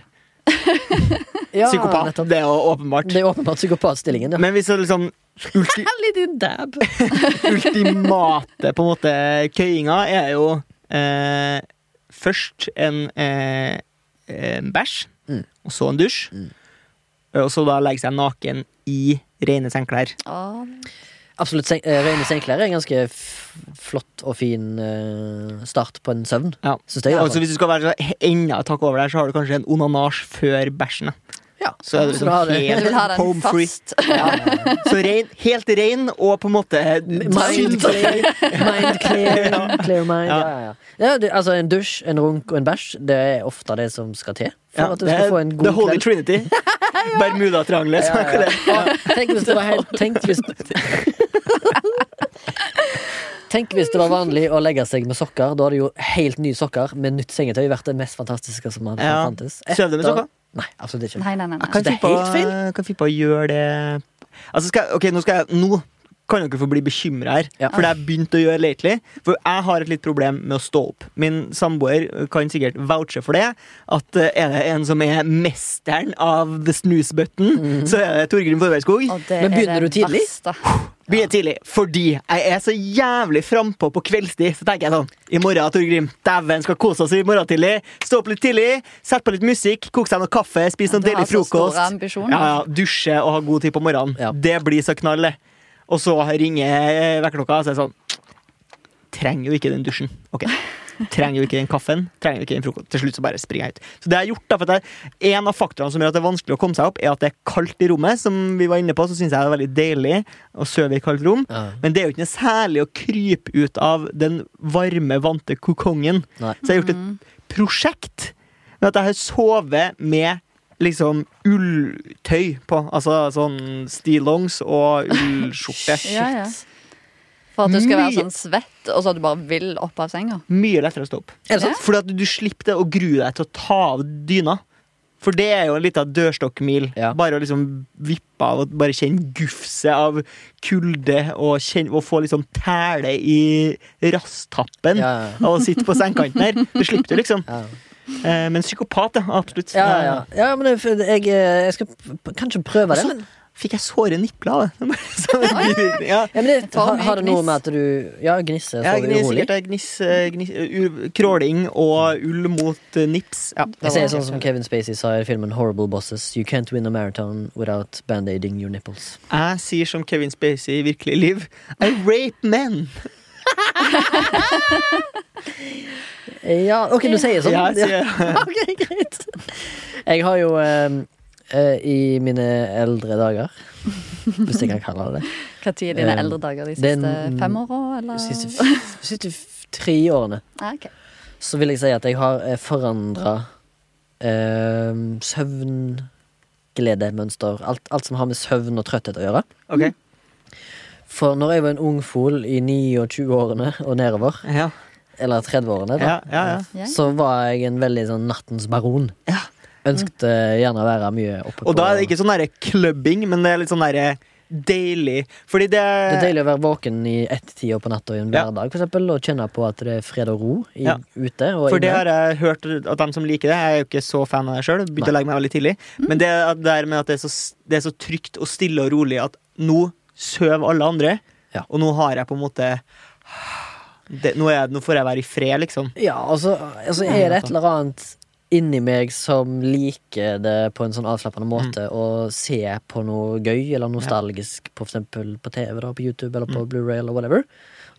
A: ja
B: Psykopat.
A: nettopp.
B: det er jo åpenbart.
A: Det er åpenbart psykopatstillingen, ja.
B: Men hvis jeg liksom ulti,
A: Liten dab.
B: ultimate på en måte køyinga er jo eh, først en, eh, en bæsj,
A: Mm.
B: og så en dusj. Og så da legge seg naken i rene sengeklær.
C: Å,
A: Absolutt. Sen eh, rene sengeklær er en ganske f flott og fin eh, start på en søvn.
B: Ja.
A: Synes jeg, i hvert fall.
B: Og så Altså, hvis du skal være så enda et hakk over der, så har du kanskje en onanasj før bæsjen. da.
A: Ja.
B: Så er det
A: Så da har du-
B: liksom
C: Du
B: helt
C: vil ha den
B: home free.
C: fast.
B: Så rein, helt rein og på en måte
A: Mind clear, mind clear, clear mind. Ja, ja, ja. ja det, altså En dusj, en runk og en bæsj Det er ofte det som skal til for
B: Ja,
A: at du
B: det
A: skal
B: er
A: få en
B: The
A: god
B: Holy
A: kveld.
B: Trinity. Bermudatriangelet.
A: Ja,
B: som jeg
A: ja,
B: kaller det.
A: ja. Ja, Tenk hvis det var helt Tenk hvis Tenk hvis det var vanlig å legge seg med sokker. Da hadde jo helt nye sokker med nytt sengetøy vært det mest fantastiske som hadde
B: Ja.
A: fantes.
B: Søv du med
A: Etter-
B: sokker?
A: Nei, absolutt ikke.
C: Nei, nei, nei.
B: Jeg
C: nei.
B: kan
A: Så det
B: finne på,
A: er helt feil.
B: kan finne på å gjøre det Altså skal, jeg- Ok, nå skal jeg Nå kan dere få bli bekymra her,
A: Ja.
B: for det har jeg begynt å gjøre lately. For jeg har et litt problem med å stå opp. Min samboer kan sikkert vouche for det. At eh, er det en som er mesteren av the snooze button,
A: Mhm.
B: så er det Torgrim Forbergskog.
C: Og det
A: Men
C: er
A: begynner
C: det
A: du tidlig?
C: verste.
B: Begynner tidlig, fordi jeg er så jævlig frampå på kveldstid. Så tenker jeg sånn I morgen, Torgrim. Dæven, skal kose oss i morgen tidlig. Stå opp litt tidlig, sett på litt musikk, koke seg noe kaffe, spise noe
C: Du har
B: deilig
C: så
B: frokost.
C: store ambisjoner.
B: Ja, ja, Dusje og ha god tid på morgenen.
A: Ja.
B: Det blir så knall, det. Og så ringer vekkerklokka, og så er det sånn Trenger jo ikke den dusjen. Ok, Trenger jo ikke den kaffen. Trenger jo ikke den frokosten. Til slutt så bare springer jeg ut. Så det jeg har gjort da, for at jeg, En av faktorene som gjør at det er vanskelig å komme seg opp, er at det er kaldt i rommet. Som vi var inne på, så syns jeg det er veldig deilig å sove i et kaldt rom.
A: Ja.
B: Men det er jo ikke noe særlig å krype ut av den varme, vante kokongen.
A: Nei.
B: Så jeg har gjort et prosjekt med at jeg har sovet med liksom ulltøy på. Altså sånn stillongs og ullskjorte.
C: Ja, ja. For at du skal være
B: Mye-
C: sånn svett, og så du bare vil opp av senga.
B: Mye lettere å stå opp.
A: Er det sant?
B: Fordi at du slipper det å grue deg til å ta av dyna. For det er jo en liten dørstokkmil.
A: Ja.
B: Bare å liksom vippe av og bare kjenne gufset av kulde og, kjenne, og få liksom tæle i rasstappen
A: Ja, ja.
B: av å sitte på sengekanten her. Du slipper det, liksom.
A: Ja.
B: Eh, men psykopat, ja. Absolutt.
A: Ja, ja, ja. ja, men jeg, jeg, eh, jeg skal p- kanskje prøve det.
B: Så
A: Men,
B: Eh, fikk jeg såre nipler av det. Sånn en bivirkning, ja.
A: ja, men det
C: får
A: har,
C: mye
A: har det noe
C: gniss.
A: med at du Ja, gnisse.
B: Ja,
A: Så
B: gnis,
A: urolig.
B: sikkert det er gnis, eh, gnis, u- kråling og ull mot eh, nips. Ja,
A: Jeg sier sånn som Kevin Spacey sa i filmen Horrible Bosses. You can't win a marathon without band-aiding your nipples.
B: Jeg sier som Kevin Spacey i virkelig liv I rape men
A: Ja, ok, du sier sånn.
B: Ja, jeg sier-
A: ok, greit. Jeg har jo eh, eh, i mine eldre dager, hvis jeg kan kalle det det,
C: Hva tid er dine
A: Eh,
C: eldre dager? De
A: det er
C: siste
A: n-
C: fem åra, eller?
A: de siste, f- siste f- tre årene,
C: Ah, ok.
A: så vil jeg si at jeg har eh, forandra eh, søvngledemønster. Alt, alt som har med søvn og trøtthet å gjøre.
B: Ok,
A: For når jeg var en ung fol i 29-årene og nedover,
B: ja,
A: eller 30-årene, da,
B: ja, ja, ja.
C: Ja.
A: så var jeg en veldig sånn nattens baron. Ønsket eh, gjerne å være mye oppe
B: Og da er det ikke sånn der klubbing Men det er litt sånn der deilig. Fordi det,
A: Det er deilig å være våken i ett-tida på natta i en
B: Ja.
A: hverdag, for eksempel, og kjenne på at det er fred og ro i,
B: Ja.
A: ute. Og
B: For det
A: inne.
B: har jeg hørt at de som liker det Jeg er jo ikke så fan av det sjøl, begynte å legge meg veldig tidlig. Men det at- det der med at det er, så, s- det er så trygt og stille og rolig at nå sover alle andre,
A: Ja.
B: og nå har jeg på en måte det, nå, er, jeg- nå får jeg være i fred, liksom.
A: Ja, altså, altså er det et eller annet inni meg som liker det på en sånn avslappende måte, og ser på noe gøy eller nostalgisk, på f.eks. på TV, da, på YouTube eller på Blu-ray eller whatever,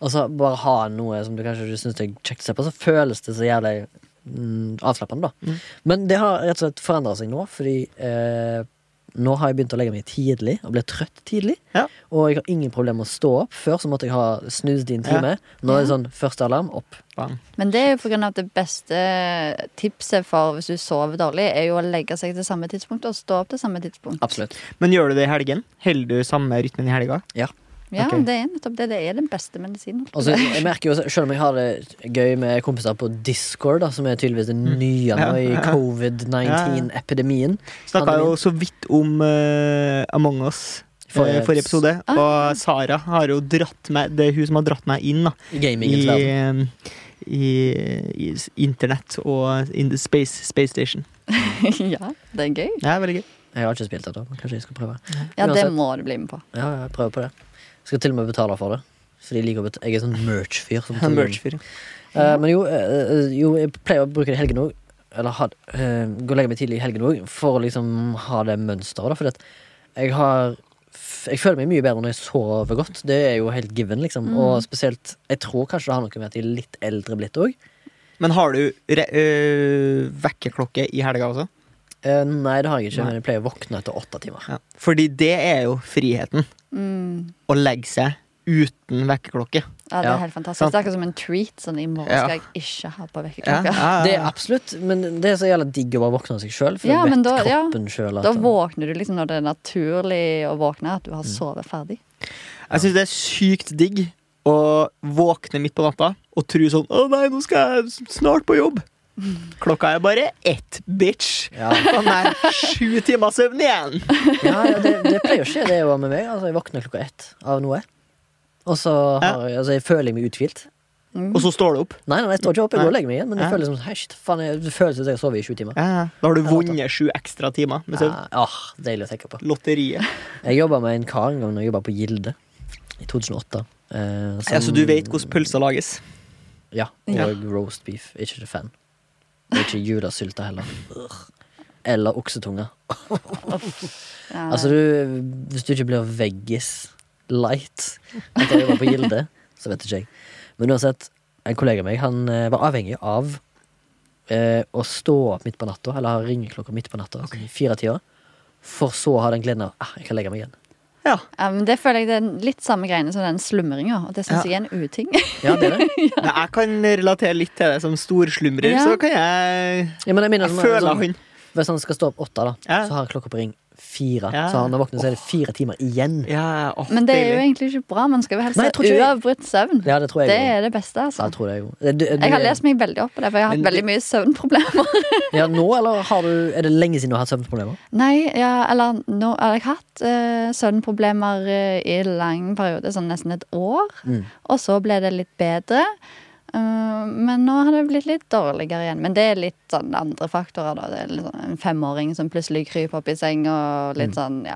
A: og så bare ha noe som du kanskje ikke syns er kjekt å se på, så føles det så jævlig mm, avslappende, da. Men det har rett og slett forandra seg nå, fordi eh, nå har jeg begynt å legge meg tidlig, og blir trøtt tidlig.
B: Ja.
A: Og jeg har ingen problemer med å stå opp. Før så måtte jeg ha snust i en time. Nå er det sånn første alarm, opp.
B: Bang.
C: Men det er jo på grunn av at det beste tipset for hvis du sover dårlig, er jo å legge seg til samme tidspunkt og stå opp til samme tidspunkt.
A: Absolutt.
B: Men gjør du det i helgen? Holder du samme rytmen i helga?
C: Ja,
B: Ok.
C: det er nettopp det. Det er den beste medisinen.
A: Og så- Altså, jeg merker jo, også, Selv om jeg har det gøy med kompiser på Discord, da, som er tydeligvis det
B: Mm.
A: nye nå i covid-19-epidemien
B: Snakka jo så vidt om eh, Among us. eh,
A: Forrige-
B: Forrige episode.
C: Ah.
B: Og Sara har jo dratt meg Det er hun som har dratt meg inn da
A: Gamingens
B: i,
A: verden.
B: eh, i, i s- internett og in the space, space station.
C: ja, det er gøy.
B: Ja, veldig gøy.
A: Jeg har ikke spilt det, da, men kanskje jeg skal prøve.
C: Ja, det
A: Uansett.
C: må du bli med på.
A: Ja, jeg prøver på det. Skal til og med betale for det. For de liker å bet- Jeg er sånn merch-fyr. som
B: Han
A: tuller.
B: merch-fyr.
A: Eh, men jo, eh, eh, jo, jeg pleier å bruke det i helgen òg. Eller ha, eh, gå og legge meg tidlig i helgen òg, for å liksom ha det mønsteret. da, Fordi at jeg har f- Jeg føler meg mye bedre når jeg sover godt. Det er jo helt given, liksom.
C: Mm.
A: Og spesielt Jeg tror kanskje det har noe med at jeg er litt eldre blitt òg.
B: Men har du re øh, vekkerklokke i helga også?
A: Eh, nei, det har jeg ikke,
B: Nei.
A: men jeg pleier å våkne etter åtte timer.
B: Ja. Fordi det er jo friheten.
C: Mm.
B: Å legge seg uten vekkerklokke.
C: Ja, det
A: Ja.
C: er helt fantastisk. Det er akkurat som en treat. Sånn, I morgen
B: Ja.
C: skal jeg ikke ha på
B: Ja,
C: vekkerklokka.
B: ja,
A: Det er
B: ja.
A: absolutt, men det er så jævla digg å bare våkne av seg sjøl, for
C: Ja,
A: du
C: men
A: vet
C: da- ja.
A: kroppen sjøl
C: Da våkner du liksom når det er naturlig å våkne, at du har
A: Mm.
C: sovet ferdig.
B: Jeg syns det er sykt digg å våkne midt på natta og tro sånn Å nei, nå skal jeg s- snart på jobb. Klokka er bare ett, bitch.
A: ja.
B: Å nei, sju timer søvn igjen!
A: Ja, ja det, det pleier å skje det jo med meg. Altså, jeg våkner klokka ett av noe. Og så har, jeg- altså, jeg føler jeg meg uthvilt.
C: Mm.
B: Og så står du opp.
A: Nei, nei, jeg står ikke opp, jeg går og legger meg igjen, men det
B: Ja.
A: føles som hei, shit, faen, jeg, det føles som jeg har sovet i sju timer.
B: Da har du vunnet sju ekstra timer med søvn.
A: Ja, ah, deilig å tenke på.
B: Lotteriet.
A: Jeg jobba med en kar en gang når jeg jobba på Gilde i 2008. eh, som-
B: Ja, så du vet hvordan pølser lages?
A: Ja, og
C: Ja.
A: roast beef. Ikke det fan. Og ikke judasylta heller. Ugh. Eller oksetunge.
B: Eh.
C: Ja.
A: Altså, du, hvis du ikke blir veggis light etter å ha jobba på Gilde, så vet ikke jeg. Men uansett, en kollega av meg han eh, var avhengig av eh, å stå opp midt på natta, eller ha ringeklokka midt på natta, sånn i fire-tida, for så å ha den gleden av ah, jeg kan legge meg igjen.
B: Ja.
C: Ja, men det føler jeg det er litt samme greiene som den slumringa, og det syns jeg er en uting.
A: Ja, det er det.
B: Nei, jeg kan relatere litt til det som storslumrer,
C: Ja.
B: så kan jeg
A: Ja, men jeg minner,
B: Jeg
A: som-
B: føler
A: sånn,
B: han
A: Hvis han skal stå opp åtte, da,
B: Ja.
A: så har han klokka på ring fire.
B: Ja.
A: Så har han når han våkner, så er det fire timer igjen.
B: ja, åh,
C: Men det er jo
B: deilig.
C: egentlig ikke bra. Man skal jo helst
A: Nei,
C: ha
A: jeg tror ikke jeg-
C: uavbrutt søvn.
A: Ja, det tror jeg
C: Det
A: jo.
C: er det beste,
A: Ja, jeg
C: altså.
A: tror det jo. Du- du-
C: Jeg har lest meg veldig opp på det, for jeg har hatt
B: Men-
C: veldig mye søvnproblemer.
A: Ja, nå, eller har du, er det lenge siden du har hatt søvnproblemer?
C: Nei, ja, eller nå har jeg hatt eh, søvnproblemer eh, i lang periode, sånn nesten et år.
A: Mm.
C: Og så ble det litt bedre. Eh, men nå har det blitt litt dårligere igjen. Men det er litt sånn andre faktorer, da. Det er litt sånn en femåring som plutselig kryper opp i seng,
A: Mm.
C: og litt sånn, ja.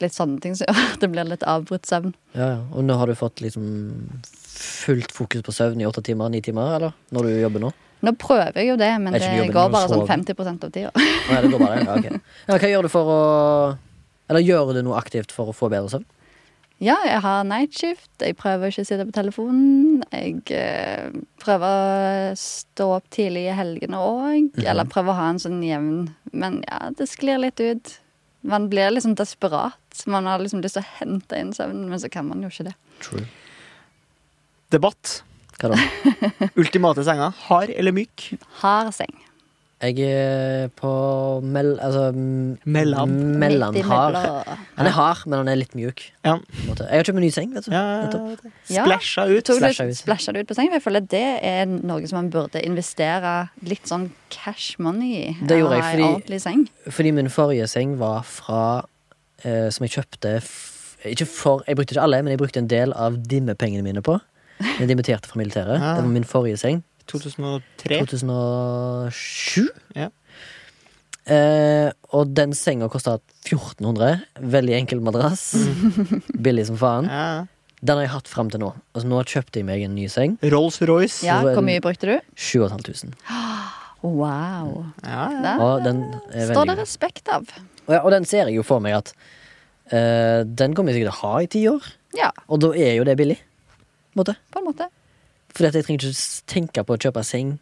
C: Litt sånne ting som gjør at det blir litt avbrutt søvn.
A: Ja, ja. Og nå har du fått liksom fullt fokus på søvn i åtte timer, ni timer, eller? Når du jobber nå?
C: Nå prøver jeg jo det, men
A: Er ikke
C: det
A: jobben
C: går
A: å
C: bare sånn
A: sove?
C: 50 av tida.
A: Å, ja, det går bare, ja, ok. ja, hva gjør du for å Eller gjør du noe aktivt for å få bedre søvn?
C: Ja, jeg har nightshift. Jeg prøver ikke å sitte på telefonen. Jeg eh, prøver å stå opp tidlig i helgene òg.
A: Mhm.
C: Eller prøver å ha en sånn jevn Men ja, det sklir litt ut. Man blir liksom desperat. Man har liksom lyst til å hente inn søvnen, men så kan man jo ikke det.
A: True.
B: Debatt.
A: Hva da?
B: Ultimate senga. Hard eller myk?
C: Hard seng.
A: Jeg er på mell... Altså m-
B: Mellom.
C: Midt i
A: Mellomhard.
C: mellom.
A: Han er hard, men han er litt mjuk.
B: Ja.
A: på en måte. Jeg har kjøpt meg ny seng, vet du.
B: ja.
A: Nettopp.
C: Ja.
B: Splæsja ut.
C: Tok
A: Splasha
C: du,
A: ut.
C: splasha du ut på sengen? For jeg føler det er noe som man burde investere litt sånn cash money i.
A: Det gjorde jeg,
C: Ha en
A: fordi-
C: ordentlig seng.
A: Fordi min forrige seng var fra eh, Som jeg kjøpte f Ikke for, jeg brukte ikke alle, men jeg brukte en del av dimmepengene mine på. Jeg dimitterte fra militæret.
B: Ah.
A: Det var min forrige seng.
B: 2003.
A: 2007.
B: Ja.
A: Eh, og den senga kosta 1400. Veldig enkel madrass. Billig som
C: Mm.
A: faen.
B: Ja.
A: Den har jeg hatt fram til nå. Altså, nå kjøpte jeg meg en ny seng.
B: Rolls-Royce.
C: Ja,
A: Så
C: hvor
A: en-
C: mye brukte du?
A: 7500.
C: Wow.
B: Ja, ja.
C: Det
A: Og den er
C: står
A: veldig
C: det respekt av.
A: Og, ja, og den ser jeg jo for meg at eh, den kommer jeg sikkert til å ha i ti år.
C: Ja,
A: Og da er jo det billig. På en måte.
C: på en måte.
A: Fordi at jeg trenger ikke s- tenke på å kjøpe seng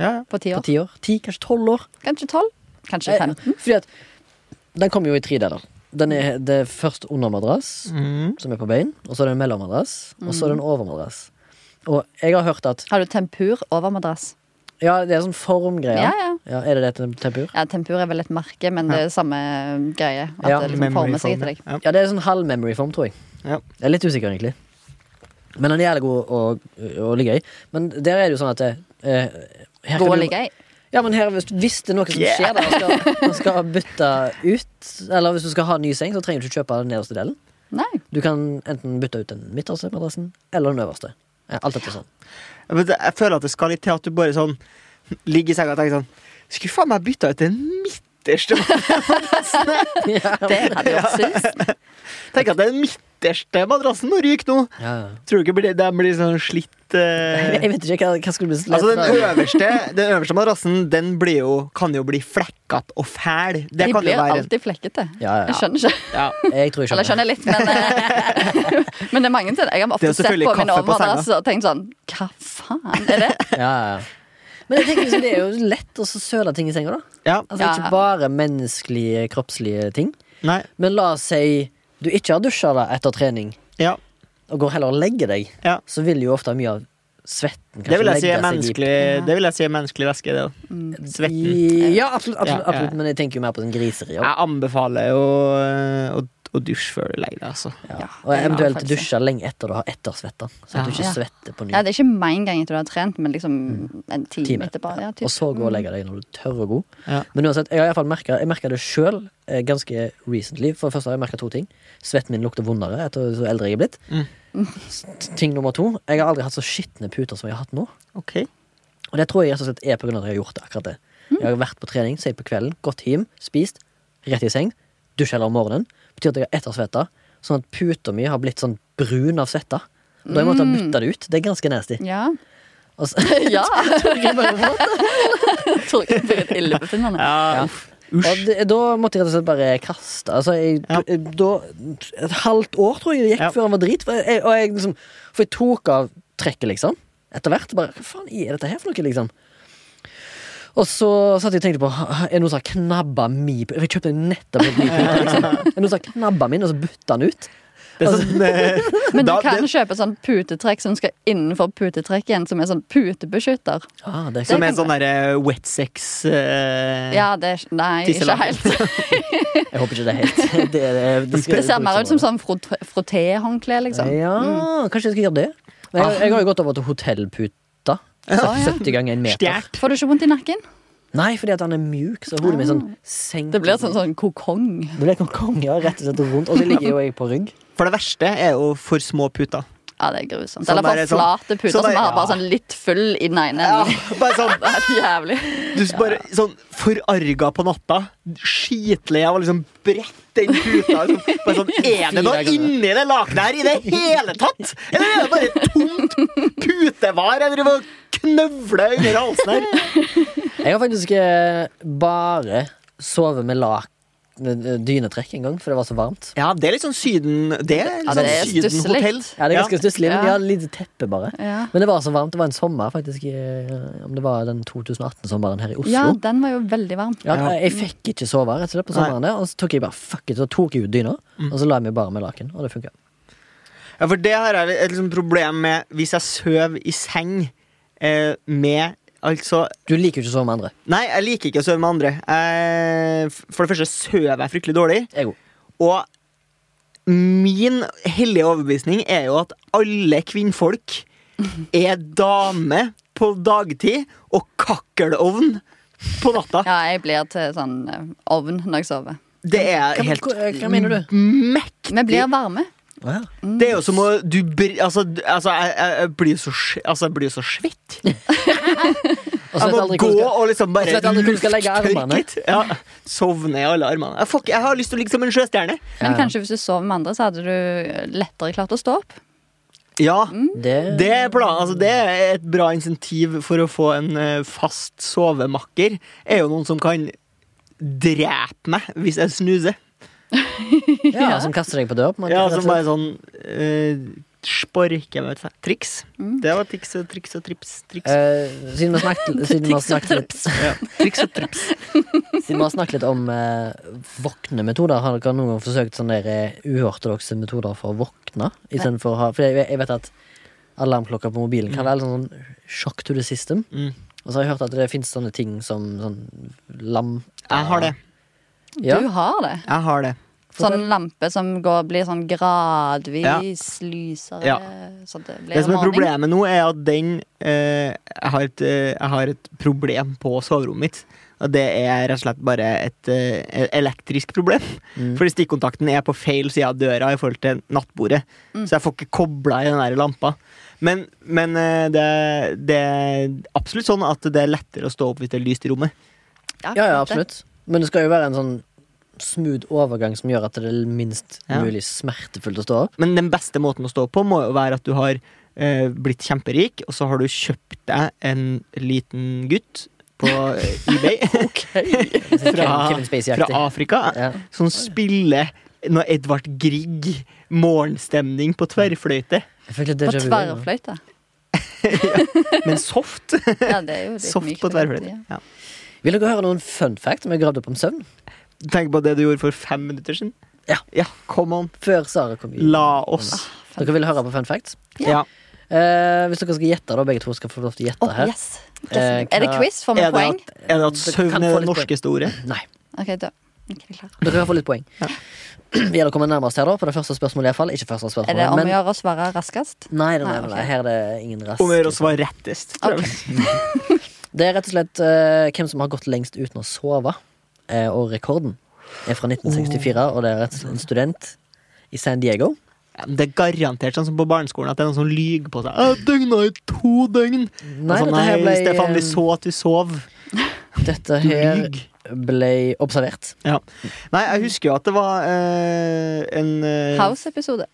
B: ja. ja.
C: På ti
A: på
C: år.
A: ti år. Ti, kanskje tolv år.
C: Kanskje tolv? Kanskje
A: Eh,
C: femten?
A: Fordi at den kommer jo i tre deler. Den er, det er først undermadrass,
B: Mm.
A: som er på bein. Og så er det en mellommadrass, og så er det en overmadrass. Og jeg har hørt at
C: Har du tempur over madrass?
A: Ja, det er sånn formgreier.
C: Ja, ja.
A: Ja, er det det til tempur?
C: Ja, tempur er vel et merke, men det er samme greie. At
A: Ja,
C: det liksom former
B: Memory-former.
C: seg etter deg.
B: Ja.
A: Ja, det er sånn halv memory form, tror jeg.
B: Ja.
A: Jeg er litt usikker, egentlig. Men den er jævlig god å, å ligge i. Men der er det jo sånn at det, eh, her
C: Gå
A: kan
C: og
A: du-
C: ligge i.
A: Ja, men her, hvis, hvis det er noe som
B: Yeah.
A: skjer der, og skal, og skal bytte ut Eller hvis du skal ha ny seng, så trenger du ikke kjøpe den nederste delen.
C: Nei.
A: Du kan enten bytte ut den midterste madrassen eller den øverste. Ja, Alt etter sånn.
B: Jeg vet- jeg føler at det skal litt til at du bare sånn ligger i senga og tenker sånn Skulle faen meg bytta ut den midterste
A: ja,
C: Det hadde gjort sist.
B: Tenk at den midterste madrassen må ryke nå!
A: ja.
B: Tror du ikke blir- den blir sånn slitt eh,
A: Jeg vet ikke hva, hva skulle bli slett
B: Altså den
A: av.
B: øverste, den øverste madrassen Den blir jo, kan jo bli flekkete og fæl. Det
C: De
B: kan jo
C: blir
B: være
C: alltid flekkete.
A: Ja, ja.
C: Jeg skjønner ikke.
B: ja.
A: Jeg tror jeg
C: Eller
A: skjønner.
C: jeg skjønner litt, men eh, Men det er mange til. Jeg har
B: Det er
C: ofte
B: jo
C: sett
B: selvfølgelig
C: på min
B: kaffe på
C: overmadrass og tenkt sånn Hva faen er det?
A: Ja, ja, ja. Men jeg tenker liksom, det er jo lett å så søle ting i senga, da.
B: ja.
A: Altså
C: Ja.
A: Ikke bare menneskelige, kroppslige ting.
B: Nei.
A: Men la oss si du ikke har dusja da etter trening,
B: Ja.
A: og går heller og legger deg,
B: Ja.
A: så vil jo ofte mye av svetten
B: Det vil jeg si
A: legge seg
B: er
A: Mm, i-
B: menneskelig,
C: Ja.
B: det vil jeg si er menneskelig væske, det òg. Svetten.
A: Ja, absolutt, absolutt,
B: Ja, ja.
A: absolutt, men jeg tenker jo mer på den griseriet.
B: Jeg anbefaler å, å, å dusje før du legger deg, altså.
A: Ja.
C: Ja,
A: Og
C: det er en
A: eventuelt
C: avfølelse.
A: dusje lenge etter du har ettersvetta. Så at du ikke
C: Ja.
A: svetter på ny.
C: Ja, det er ikke med en gang etter du har trent, men liksom en time,
A: Time.
C: etterpå. Ja, typ. Mm.
A: Og så gå og legge deg når du tør å gå.
B: Ja.
A: Men uansett, jeg har i hvert fall merket, jeg merka det sjøl ganske recently. For det første har jeg merka to ting. Svetten min lukter vondere etter så eldre jeg er blitt.
B: Mm.
A: S- Ting nummer to. Jeg har aldri hatt så skitne puter som jeg har hatt nå.
B: Ok.
A: Og det tror jeg rett og slett er på grunn av at jeg har gjort det, akkurat det. Jeg har vært på trening sent på kvelden, gått hjem, spist, rett i seng. Dusja heller om morgenen. Betyr at jeg har ettersvetta. Sånn at puta mi har blitt sånn brun av svetta. Da har jeg måttet bytte det ut. Det er ganske nasty.
C: Ja.
A: Og så,
C: ja. Torgeir blir et illebefinnende.
B: Ja,
A: Ja.
B: uff. Usj.
A: Og det, da måtte jeg rett og slett bare kaste. Altså, jeg,
B: Ja.
A: da, et halvt år tror jeg det gikk
B: Ja.
A: før han var drit. For jeg, og jeg, liksom, for jeg tok av trekket, liksom. Etter hvert. Bare, Hva faen er dette her for noe, liksom? Og så satt jeg og tenkte på Er det noen som har knabba mi pute? Jeg kjøpte nettopp en ny pute. Liksom. Er det noen som har knabba min, og så bytta den ut?
B: Det er sånn eh,
C: Men du
B: da-
C: kan
B: det-
C: kjøpe sånn putetrekk som skal innenfor putetrekk igjen, som er sånn putebeskytter.
A: Ah, det er
B: Som
A: klart.
B: en sånn derre wet sex eh,
C: Ja, det er Nei, ikke
B: Tisselapp.
C: helt.
A: Jeg håper ikke det er helt Det, det, det, skal-
C: Det ser mer ut som sånn frot- frottéhåndkle, liksom.
A: Ja, kanskje jeg skal gjøre det. Men jeg, jeg har jo gått over til hotellputa.
C: Ja, ja.
A: 70 ganger en meter.
B: stjert.
C: Får du ikke vondt i nakken?
A: Nei, fordi at han er mjuk, så hodet mitt sånn
C: Ah.
A: senker
C: Det blir sånn, sånn kokong.
A: Det blir sånn kong, ja, rett og slett rundt. Og så ligger jo jeg på rygg.
B: For det verste er jo for små puter.
C: Ja, det er grusomt.
B: Sånn
C: Eller
B: der,
C: bare
B: sånn-
C: flate puter
B: sånn der-
C: som har bare
B: ja.
C: sånn litt full i den ene enden.
B: Bare sånn,
C: Det er helt jævlig.
B: du s- bare sånn forarga på natta. Skitlei av å liksom brette den puta. Liksom. Bare sånn, er det noe
A: Fire ganger.
B: inni det lakenet her i det hele tatt?! Eller er det bare tomt putevar jeg driver og knøvler under halsen her?
A: Jeg har faktisk eh, bare sovet med lak dynetrekk en gang, for det var så varmt.
B: Ja, det er litt sånn Syden Det er litt
C: Ja,
B: sånn
C: det er
B: Sydenhotell.
C: stusselig.
A: Ja, det er ganske stusslig, men
C: Ja.
A: de har litt teppe, bare.
C: Ja.
A: Men det var så varmt. Det var en sommer, faktisk. i- eh, Om det var den 2018-sommeren her i Oslo.
C: ja, den var jo veldig varm.
A: Ja, jeg fikk ikke sove rett og slett på sommeren, der, og så tok jeg bare fuck it, så tok jeg ut dyna, og så la jeg meg bare med laken, og det funka.
B: Ja, for det her er et liksom problem med hvis jeg sover i seng eh, med Altså
A: Du liker jo ikke å sove med andre.
B: Nei, jeg liker ikke å sove med andre. Eh, f- for det første sover jeg fryktelig dårlig.
A: Jeg òg.
B: Og min hellige overbevisning er jo at alle kvinnfolk er dame på dagtid og kakkelovn på natta.
C: Ja, jeg blir til sånn eh, ovn når jeg sover.
B: Det er
A: Hva,
B: helt
A: hva, hva mener du?
B: mektig.
C: Vi blir varme.
A: Å Mm. ja.
B: Det er jo som å du, br- altså, du- altså, jeg, jeg, jeg blir jo så, sj- altså, jeg blir jo så svett.
A: Og så vet jeg
B: Jeg må
A: aldri
B: gå
A: hvor du skal-
B: og liksom
A: Og så
B: bare
A: vet jeg aldri hvor du skal legge armene.
B: litt. Ja. Sovne i alle armene. Jeg, får ikke- jeg har lyst til å ligge som en sjøstjerne.
A: Ja,
C: Men
A: ja.
C: kanskje hvis du sover med andre, så hadde du lettere klart å stå opp.
B: Ja,
A: Mm. Det,
B: det er, plan, altså, det er et bra insentiv for å få en eh, fast sovemakker. Er jo noen som kan drepe meg hvis jeg snuser.
A: ja, som kaster deg på dør, på en måte.
B: Ja,
A: rett og
B: som
A: slett.
B: bare sånn eh, Sporke meg ut. Triks. Det var triks og triks og trips. Triks,
A: Eh, siden vi har snakket, siden vi har
C: Triks og
A: snakket litt
B: ja. triks og trips.
A: Siden vi har snakket litt om eh, våkne metoder, har dere noen gang forsøkt sånne der, eh, uortodokse metoder for å våkne? I stedet for å ha, for jeg, jeg vet at alarmklokka på mobilen kan være litt sånn shock to the system.
B: Mm.
A: Og så har jeg hørt at det finnes sånne ting som sånn lam...
B: Jeg har det.
A: Ja.
C: Du har det.
B: Jeg har det.
A: Fortell.
C: Sånn lampe som går, blir sånn gradvis lysere.
B: Ja.
C: Så det blir
B: Det som er
C: morgen.
B: problemet nå, er at den eh, jeg, har et, eh, jeg har et problem på soverommet mitt. Og det er rett og slett bare et eh, elektrisk problem.
A: Mm.
B: Fordi stikkontakten er på feil side av døra i forhold til nattbordet. Så jeg får ikke kobla i den der lampa. Men, men eh, det, det er absolutt sånn at det er lettere å stå opp hvis det er lyst i rommet.
A: Ja, ja,
C: klart det.
A: absolutt. Men det skal jo være en sånn smooth overgang som gjør at det er minst
B: Ja.
A: mulig smertefullt å stå opp.
B: Men den beste måten å stå på må jo være at du har eh, blitt kjemperik, og så har du kjøpt deg en liten gutt på eh, eBay
A: Kevin-
B: Fra-
A: Kevin
B: fra
A: Spacey-aktig.
B: Afrika
A: Ja.
B: som spiller noe Sånn Edvard Grieg, morgenstemning på tverrfløyte.
A: Jeg fikk litt
C: På
A: déjà vu. nå.
C: tverrfløyte.
B: Men soft.
C: Ja, det er jo litt
B: soft
C: mykt,
B: på
C: det,
B: tverrfløyte.
C: ja.
B: Ja.
A: Vil dere høre noen fun facts som jeg gravde opp om søvn?
B: Tenk på det du gjorde for fem minutter siden.
A: Ja.
B: come on.
A: Før Sara kom i
B: La oss.
A: Dere vil høre på fun facts?
B: Ja.
A: Eh, hvis dere skal gjette, da begge to skal få lov til å gjette
C: Å,
A: her.
C: yes. Er det
A: hva-
C: quiz? Får vi
B: Er, det
C: poeng?
B: at, er det at
A: Det
B: søvn
A: kan
B: er
A: få
B: det
A: litt
B: norskeste ordet?
A: Nei.
C: Ok, da. Ok, jeg er klar.
A: Dere kan få litt poeng.
B: Ja.
A: Det gjelder å komme nærmest her, da. På det første spørsmålet, iallfall. Ikke første spørsmål.
C: Er det om å
A: men-
C: gjøre å svare raskest?
A: Nei, nei, nei,
C: Nei, ok.
A: nei, her er det ingen rask.
B: Om å gjøre å svare rettest. tror jeg.
A: Det er rett og slett eh, hvem som har gått lengst uten å sove. Eh, og rekorden er fra
B: Oh.
A: 1964, og det er rett og slett en student i San Diego.
B: Ja, men Det er garantert sånn som på barneskolen at det er noen som lyver på seg. Jeg døgna i to døgn!
A: Nei,
B: altså,
A: dette
B: nei
A: her ble,
B: Stefan, vi
A: eh,
B: så at du sov.
A: Dette
B: Du
A: her
B: lyver.
A: ble observert.
B: Ja. Nei, jeg husker jo at det var eh, en eh,
C: House-episode.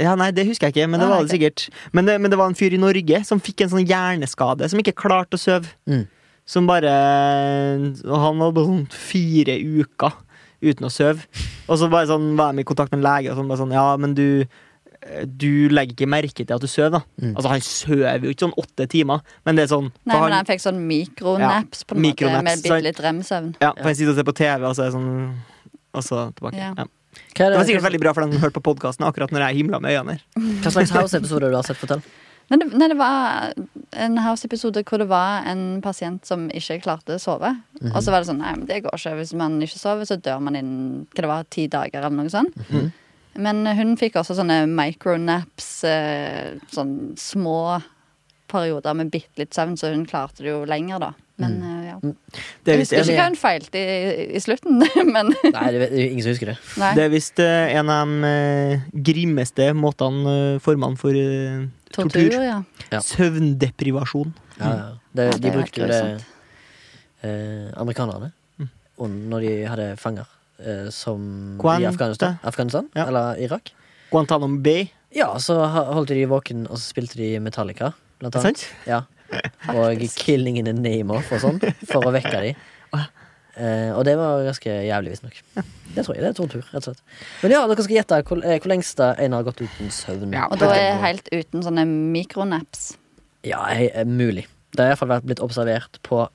B: Ja, nei, det husker jeg ikke, men det
C: Ah,
B: var det
C: ok.
B: sikkert. Men det, men det var en fyr i Norge som fikk en sånn hjerneskade, som ikke klarte å sove.
A: Mm.
B: Som bare og Han var bare sånn fire uker uten å sove. Og så bare sånn var de i kontakt med en lege, og sånn bare sånn Ja, men du du legger ikke merke til at du sover, da.
A: Mm.
B: Altså, han sover jo ikke sånn åtte timer, men det er sånn
C: Nei,
B: for
C: men
B: han,
C: han fikk sånn mikronaps, på en måte,
B: mikronaps,
C: med bitte
B: sant.
C: litt rem-søvn.
B: ja, for han sitter og ser på TV, og så er det sånn Og så tilbake.
C: Ja.
A: Hva,
B: Ja.
A: er
B: Det var
A: det,
B: sikkert veldig bra for den som hørte på podkasten akkurat når jeg himla med øynene. her.
A: hva slags House-episode du har sett? Fortell.
C: Nei, det, nei, det var en House-episode hvor det var en pasient som ikke klarte å sove.
B: Mhm.
C: Og så var det sånn Nei, men det går ikke. Hvis man ikke sover, så dør man innen hva det var, ti dager eller noe sånt.
B: Mhm.
C: Men hun fikk også sånne micronaps, eh, sånn små perioder med bitte litt søvn, så hun klarte det jo lenger, da. Men eh, ja.
B: Mhm. Det
C: Jeg
B: er visst
C: husker
B: en-
C: ikke hva hun feilte i, i slutten, men
A: Nei, det er ingen som husker det.
C: nei.
B: Det er visst eh, en av de eh, grimmeste måtene eh, formene for eh, tortur.
C: tortur, ja.
A: Ja.
B: Søvndeprivasjon.
A: Ja, ja. Det,
C: Ja, det
A: de
C: er helt
A: brukte jo det
C: grusomt.
A: eh, Amerikanerne
B: Mm.
A: og når de hadde fanger eh, som
B: Guan-
A: i Afghanistan, Afghanistan
B: Ja.
A: eller Irak.
B: Guantánamo Bay,
A: Ja, så ha- holdt de våken, og så spilte de Metallica, blant
B: er det
A: annet.
B: sant?
A: Ja. Og
C: Faktisk.
A: 'Killing in the Name of' og sånn, for å vekke de. Eh, og det var ganske jævlig, visstnok. Det tror jeg. Det er tortur, rett og slett. Men ja, dere skal gjette hvor, eh, hvor lengst da en har gått uten søvn.
B: Ja,
C: Og da er helt uten sånne mikronaps.
A: Ja, he- eh, mulig. Det har iallfall blitt observert på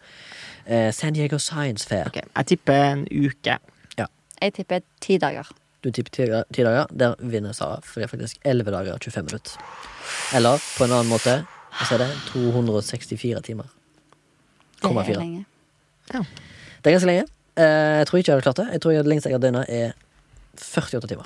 A: eh, San Diego Science Fair.
B: Ok, Jeg tipper en uke.
C: Jeg tipper ti dager.
A: Du tipper ti dager- ti dager. Der vinner Sara, for det er faktisk 11 dager og 25 minutter. Eller på en annen måte hva er det 264 timer.
C: Det
A: Komma
C: er
A: fire.
C: lenge.
A: Det er ganske lenge. Eh, Jeg tror ikke jeg hadde klart det. Jeg tror jeg hadde lengst jeg har døgna, er 48 timer.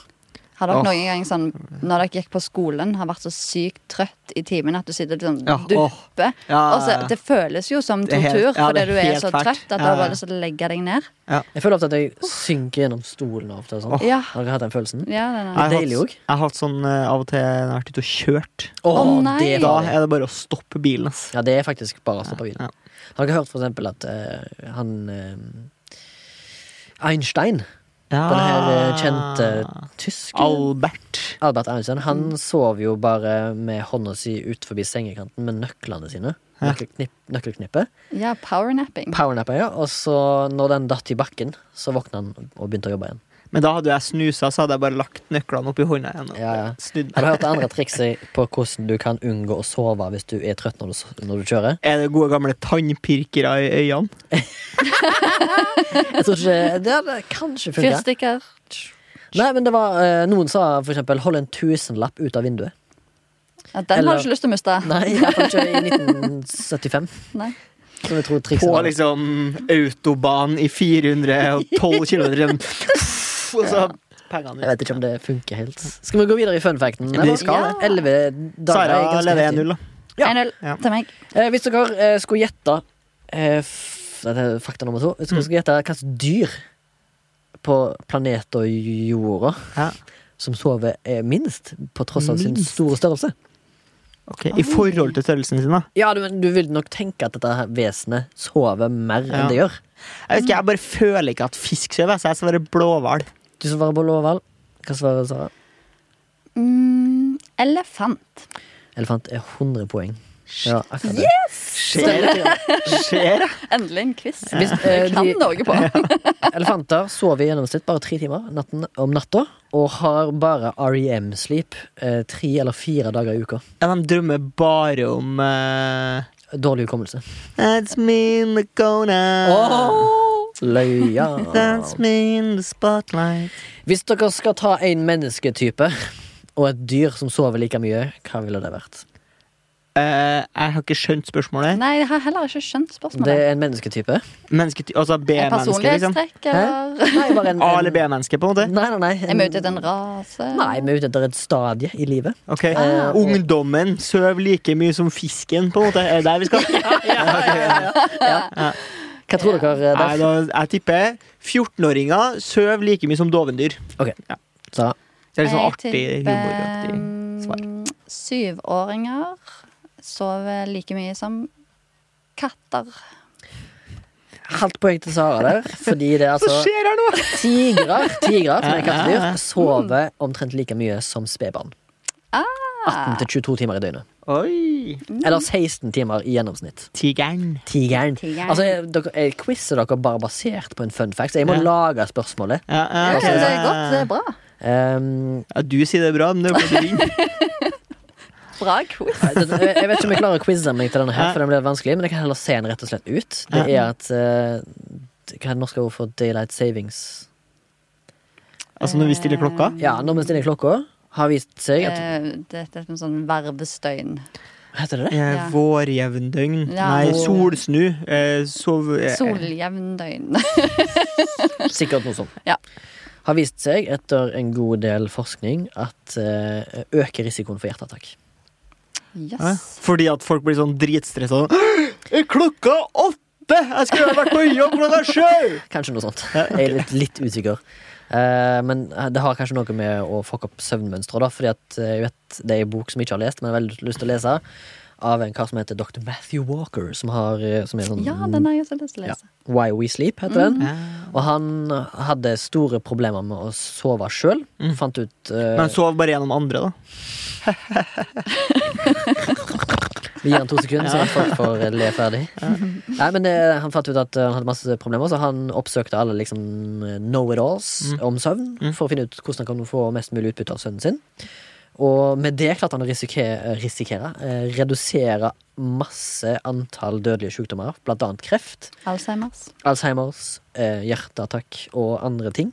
C: Har dere
B: Åh.
C: noen gang sånn, når dere gikk på skolen, har vært så sykt trøtt i timen at du sitter og liksom
B: Ja, åh.
C: dupper?
A: Altså,
B: Ja,
C: Og så,
B: ja, ja.
C: det føles jo som
B: Det er helt-
C: tortur,
B: ja,
C: fordi
B: det er
C: du er
B: helt
C: så
B: fælt.
C: trøtt at du
B: Ja, ja.
C: har bare lyst til å legge deg ned.
A: Jeg føler ofte at jeg synker gjennom stolen ofte. og Sånn.
B: Åh.
C: Ja.
A: Har dere hatt den følelsen?
C: Ja, den
A: Nei.
B: Jeg
C: er.
B: har
A: deilig
B: hatt-
A: også.
B: Jeg har hatt sånn eh, av og til når jeg har vært ute og kjørt.
A: Åh,
C: nei.
A: det
B: Da
A: var det.
B: er det bare å stoppe bilen, ass.
A: Ja, det er faktisk bare å stoppe bilen.
B: Ja.
A: Har dere hørt for eksempel at eh, han eh, Einstein,
B: Ja.
A: den her eh, kjente tysker
B: Albert.
A: Albert Einstein, han
B: Mm.
A: sov jo bare med hånda si ut forbi sengekanten med nøklene sine.
B: Ja.
A: Nøkkelknipp, nøkkelknippet.
C: ja powernapping.
A: Powernappa, ja. Og så, når den datt i bakken, så våkna han og begynte å jobbe igjen.
B: Men da hadde jeg snusa, så hadde jeg bare lagt nøklene oppi hånda igjen. Og
A: Ja, ja.
B: snudd.
A: Har du hørt det andre trikset på hvordan du kan unngå å sove hvis du er trøtt når du, s- når du kjører?
B: Er det gode gamle tannpirkere i øynene?
A: Jeg tror ikke Det hadde kanskje funka.
C: Fyrstikker.
A: Nei, men det var eh, Noen sa for eksempel 'hold en tusenlapp ut av vinduet'.
C: Ja, den
A: Eller-
C: har du ikke lyst til å miste.
A: Nei, i hvert fall ikke i 1975.
C: Nei.
A: Som jeg tror trikset
B: På
A: var.
B: liksom autobahn i 412 km. Og så penger
A: Jeg vet ikke om det funker helt. Skal vi gå videre i funfacten?
B: Vi skal
C: Ja. det.
A: 11 dager er
B: Sara
A: ganske
B: leder
A: heftig.
B: 1-0, da.
A: Ja.
C: 1-0
B: Ja.
C: til meg.
A: Eh, hvis dere eh, skulle gjette eh, f- Dette er fakta nummer to. Hvis dere skulle gjette hvilket dyr på planeten jorda
B: Ja.
A: som sover eh, minst, på tross av sin
B: Minst?
A: store størrelse
B: Ok,
A: Ah.
B: I forhold til størrelsen sin, da.
A: Ja, du, men du vil nok tenke at dette her vesenet sover mer
B: Ja.
A: enn det gjør.
B: Jeg vet ikke, jeg bare føler ikke at fisk sover, så jeg svarer blåhval.
A: Du svarer på Lovald. Hva svarer Sara?
C: Mm, elefant.
A: Elefant er 100 poeng. Ja, akkurat det.
B: Skjer det? Skjer det?
C: Endelig en quiz.
A: Hvis, eh,
C: Jeg kan
A: de-
C: noe på.
A: Elefanter sover i gjennomsnitt bare tre timer natten, om natta og har bare REM-sleep eh, tre eller fire dager i uka.
B: Ja, de drømmer bare om eh,
A: Dårlig hukommelse.
B: That's me in the corner.
A: Løya.
B: That's me in the spotlight.
A: Hvis dere skal ta en mennesketype og et dyr som sover like mye, hva ville det vært?
B: Eh, jeg har ikke skjønt spørsmålet.
C: Nei, jeg har heller ikke skjønt
A: Det
C: spørsmålet.
A: er en mennesketype.
B: Menneske, altså
C: Er
B: B-menneske, liksom.
C: personlighetstrekk, eller
A: Nei, bare en,
B: A- eller B-menneske, på en måte.
A: Nei, nei, nei.
C: er vi ute etter en rase?
A: Nei, vi er ute etter et stadie i livet.
B: Ok,
A: Ah.
B: Eh, Ungdommen sover like mye som fisken, på en måte. Er det der vi skal?
A: Hva tror dere eh,
B: Nei,
A: der?
B: da, jeg tipper 14-åringer sover like mye som dovendyr.
A: Sara?
B: Det er litt sånn
C: Jeg
B: artig
C: tipper,
B: humoraktig. svar.
C: mm, Syvåringer sover like mye som katter.
A: Halvt poeng til Sara der, fordi det er altså
B: Hva skjer her nå?
A: Tigrer, tigrer som er kattedyr, sover omtrent like mye som spedbarn.
C: Ah.
A: 18-22 timer i døgnet.
B: Oi.
C: Mm.
A: Eller 16 timer i gjennomsnitt.
B: Tigeren.
A: Tigeren.
C: Tigeren.
A: Altså, jeg- dere, jeg quizer dere bare basert på en fun fact, så jeg må
B: Ja.
A: lage spørsmålet.
B: Ja, ja,
C: Ja,
B: ok.
C: det
A: altså,
C: er godt. Det er bra.
A: Um,
B: Ja, du sier det er bra, men det er fordi du vinner.
C: Bra quiz.
A: jeg jeg vet ikke om jeg klarer å quize meg til denne, her
B: Ja.
A: for den blir vanskelig, men jeg kan heller se den rett og slett ut. Det er at eh, Hva er det norske ordet for daylight savings?
B: Altså når vi stiller klokka.
A: Ja, når vi stiller klokka, har vist seg at
C: Eh, Det det er en sånn vervestøyn.
A: Heter det det?
B: Eh,
C: Ja.
B: Vårjevndøgn.
C: Ja.
B: Nei, solsnu. Eh, sov... eh,
C: Soljevndøgn.
A: Sikkert noe sånt.
C: Ja.
A: Har vist seg etter en god del forskning at eh, øker risikoen for hjerteattakk.
B: Hæ?
C: Yes.
B: Fordi at folk blir sånn dritstressa. «Åh, Klokka åtte! Jeg skulle ha vært på jobb klokka sju!
A: Kanskje noe sånt. Jeg er litt, litt usikker. Eh, men det har kanskje noe med å fucke opp søvnmønsteret, da. Fordi at eh, jeg vet det er en bok som jeg ikke har lest, men jeg har veldig lyst til å lese. Av en kar som heter dr. Matthew Walker, som, har, eh, som er sånn
C: Ja, den Mm, har jeg også lyst til å
A: Ja.
C: lese.
A: Why We Sleep, heter den. Og han hadde store problemer med å sove sjøl. Fant ut eh,
B: Men sov bare gjennom andre, da.
A: Vi gir han to sekunder, så folk får le ferdig. Nei, men eh, Han fant ut at eh, han hadde masse problemer, så han oppsøkte alle liksom know-it-alls om søvn for å finne ut hvordan han kan få mest mulig utbytte av søvnen sin. Og med det klarte han å risikere, risikere eh, redusere masse antall dødelige sykdommer, blant annet kreft,
C: Alzheimers.
A: Alzheimers, eh, hjerteattakk og andre ting.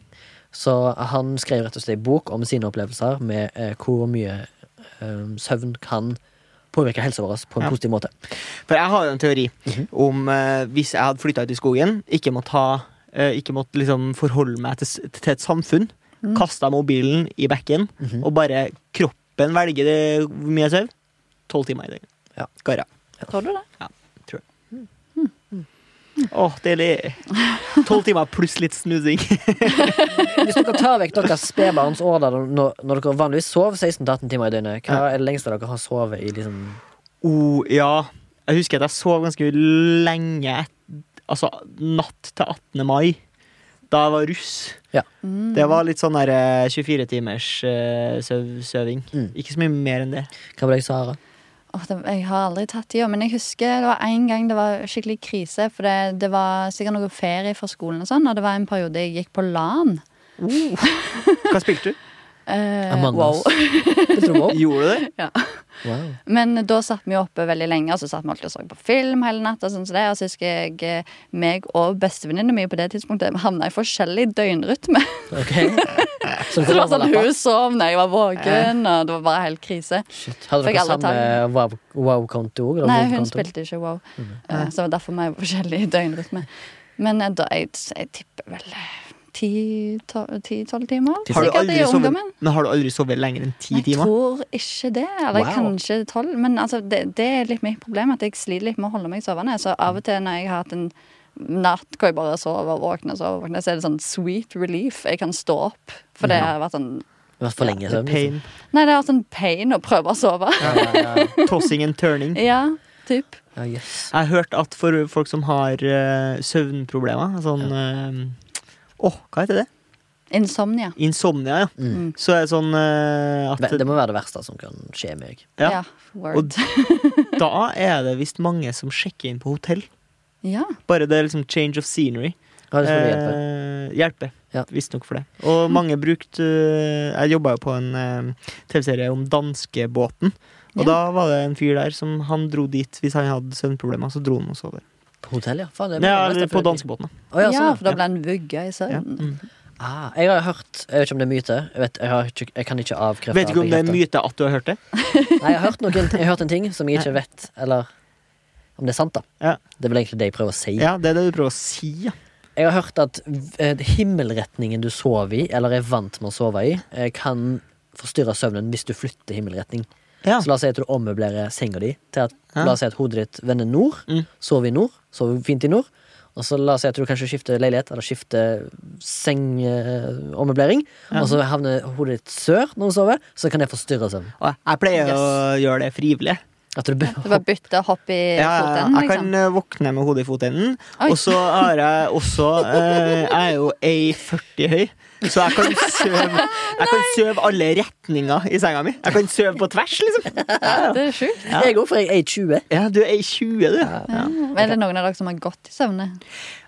A: Så han skrev rett og slett en bok om sine opplevelser med eh, hvor mye eh, søvn kan påvirke helsa vår på en
B: Ja.
A: positiv måte.
B: For jeg har jo en teori om eh, hvis jeg hadde flytta ut i skogen, ikke måtte, ha, eh, ikke måtte liksom forholde meg til, s- til et samfunn, kasta mobilen i bekken,
A: Mhm.
B: og bare kroppen velger det hvor mye jeg sover. Tolv timer i døgnet.
A: Ja.
B: Garra.
C: Tror du det?
B: Åh, deilig. Tolv timer pluss litt snusing.
A: Hvis dere tar vekk deres spedbarns år da, når, når dere vanligvis sover 16-18 timer i døgnet, hva er det lengste dere har sovet i liksom
B: Oh, ja. Jeg husker at jeg sov ganske lenge et- Altså natt til 18. mai, da jeg var russ.
A: Ja.
B: Det var litt sånn der eh, 24 timers eh, søv søving.
A: Mm.
B: Ikke så mye mer enn det.
A: Hva med deg, Sara?
C: Åh, det, jeg har aldri tatt tida, men jeg husker det var en gang det var skikkelig krise. For det, det var sikkert noe ferie fra skolen, og sånn Og det var en periode jeg gikk på LAN.
B: Hva spilte du?
C: Eh,
A: Among
C: wow.
A: Us. Spilte du WoW?
B: Gjorde du det?
A: Wow.
C: Men da satt vi oppe veldig lenge, og så satt vi alltid og så på film hele natta. Og sånn som det, og så husker jeg eh, meg og bestevenninna mi på det tidspunktet havna i forskjellig døgnrytme.
A: Ok. Så
C: Så det
A: dere
C: var sånn
A: overlappa?
C: Hun sov når jeg var våken, og det var bare helt krise.
A: Shit. Hadde
C: Fikk
A: dere
C: alle
A: samme
C: tak.
A: wow- wow-konto òg?
C: Nei, hun spilte ikke wow. Eh, Så det var derfor vi var forskjellig i døgnrytme. Men eh, da, jeg, jeg tipper vel eh, ti-tolv timer.
A: Har
B: Har du
C: Sikkert i
B: aldri sovet,
C: ungdommen.
B: men har du aldri sovet lenger enn ti
C: Jeg
B: timer?
C: tror ikke det. Eller
A: Wow.
C: kanskje tolv. Men altså, det, det er litt mitt problem, at jeg sliter litt med å holde meg sovende. Så av og til når jeg har hatt en natt hvor jeg bare sover og våkner, sover, og våkner, så er det sånn sweet relief. Jeg kan stå opp. For det har vært sånn
A: Vært for lenge liksom. søvn.
B: Pain.
C: Nei, det har vært sånn pain å prøve å sove.
B: Tossing and
A: Mm.
B: turning.
C: Ja, typ.
A: Ja, yes.
B: Jeg har hørt at for folk som har eh, søvnproblemer Sånn eh, Åh, hva heter det?
C: Insomnia.
B: Insomnia, ja.
A: Mm.
B: Så er det sånn eh, at
A: Men Det må være det verste som kan skje meg.
B: Ja.
C: Ja,
B: Og
C: word.
B: da er det visst mange som sjekker inn på hotell.
C: Ja.
B: Bare det er liksom change of scenery.
A: Ja, det skulle hjelpe.
B: Eh, hjelpe.
A: Ja.
B: Visstnok for det. Og mange brukte Jeg jobba jo på en eh, TV-serie om danskebåten. Og
C: Ja.
B: da var det en fyr der som han dro dit hvis han hadde søvnproblemer. Så dro han og sov der.
A: På hotell, ja. Faen, det er
B: Ja,
A: det
B: eller
A: beste
B: på
A: for-
B: danskebåten. da.
A: Å, ja, sånn,
C: ja,
A: ja.
C: for da ble han vugga i
B: Ja.
C: søvnen.
B: Mm.
A: Ah, jeg har hørt Jeg vet ikke om det er myte. Jeg, vet, jeg, har ikke, jeg kan ikke avkrefte
B: Vet ikke om det er
A: bekrefte.
B: en myte at du har hørt det.
A: Nei, jeg har hørt, noen, jeg har hørt en ting som jeg ikke vet, eller om det er sant, da.
B: Ja.
A: Det er vel egentlig det jeg prøver å si.
B: Ja, Det er det du prøver å si. Ja.
A: Jeg har hørt at eh, himmelretningen du sover i, eller er vant med å sove i, eh, kan forstyrre søvnen hvis du flytter himmelretning.
B: Ja.
A: Så la oss si at du ommøblerer senga di til at
B: Ja.
A: La oss si at hodet ditt vender nord,
B: Mm.
A: sover i nord, sover fint i nord. Og så la oss si at du kanskje skifter leilighet, eller skifter sengeommøblering.
B: Ja.
A: Og så havner hodet ditt sør når du sover, så kan det forstyrre søvnen.
B: Og jeg- Jeg pleier å gjøre det frivillig.
A: At du
C: Det var bytte hopp i
B: Ja, jeg,
C: foten,
B: jeg kan
C: liksom.
B: eh, våkne med hodet i fotenden.
C: Oi.
B: Og så har jeg også eh, Jeg er jo A40 høy, så jeg kan søve Jeg kan søve alle retninger i senga mi. Jeg kan søve på tvers, liksom.
C: Det er sjukt.
A: Jeg går for jeg er 20.
B: Ja, du er A20, du. Ja.
C: Men Er det noen av dere som har gått i søvne?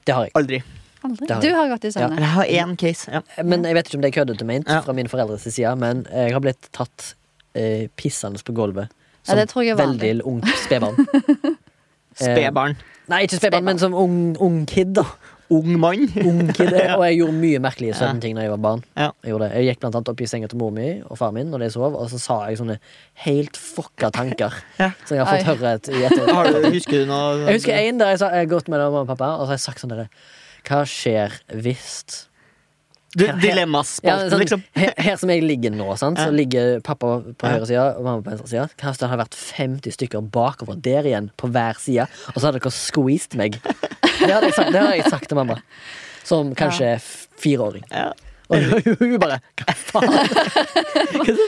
A: Det har jeg.
B: Aldri.
C: Aldri.
A: Det har jeg.
C: Du har gått i
A: Ja.
C: søvne.
B: Jeg har én case. Ja.
A: Men jeg vet ikke om det er køddete ment
B: Ja.
A: fra mine foreldres side, men jeg har blitt tatt eh, pissende på gulvet.
C: Ja, det tror jeg er
A: veldig
C: vanlig.
A: ungt spedbarn. Eh,
B: Spedbarn.
A: Nei, ikke spedbarn, men som ung, ung kid, da.
B: Ung mann.
A: Ung kid, eh, Og jeg gjorde mye merkelige søvnting da jeg var barn.
B: Ja.
A: Jeg, gjorde det. jeg gikk blant annet opp i senga til mor mi og far min når de sov, og så sa jeg sånne helt fucka tanker
B: Ja.
A: som jeg har fått
C: Oi.
A: høre et, i etter.
B: Har du, husker du noe?
A: Jeg husker en der jeg sa jeg har gått med mamma og pappa, og så har jeg sagt sånn dere Hva skjer hvis
B: Du,
A: ja,
B: Dilemmaspalten,
A: sånn,
B: liksom.
A: her, her som jeg ligger nå, sant? så
B: Ja.
A: ligger pappa på
B: Ja.
A: høyre side og mamma på venstre side. Kanskje det hadde vært 50 stykker bakover der igjen, på hver side, og så hadde dere squeezed meg. Det hadde jeg sagt, det hadde jeg sagt til mamma, som kanskje f- fireåring.
B: Ja.
A: Og hun bare Hva faen?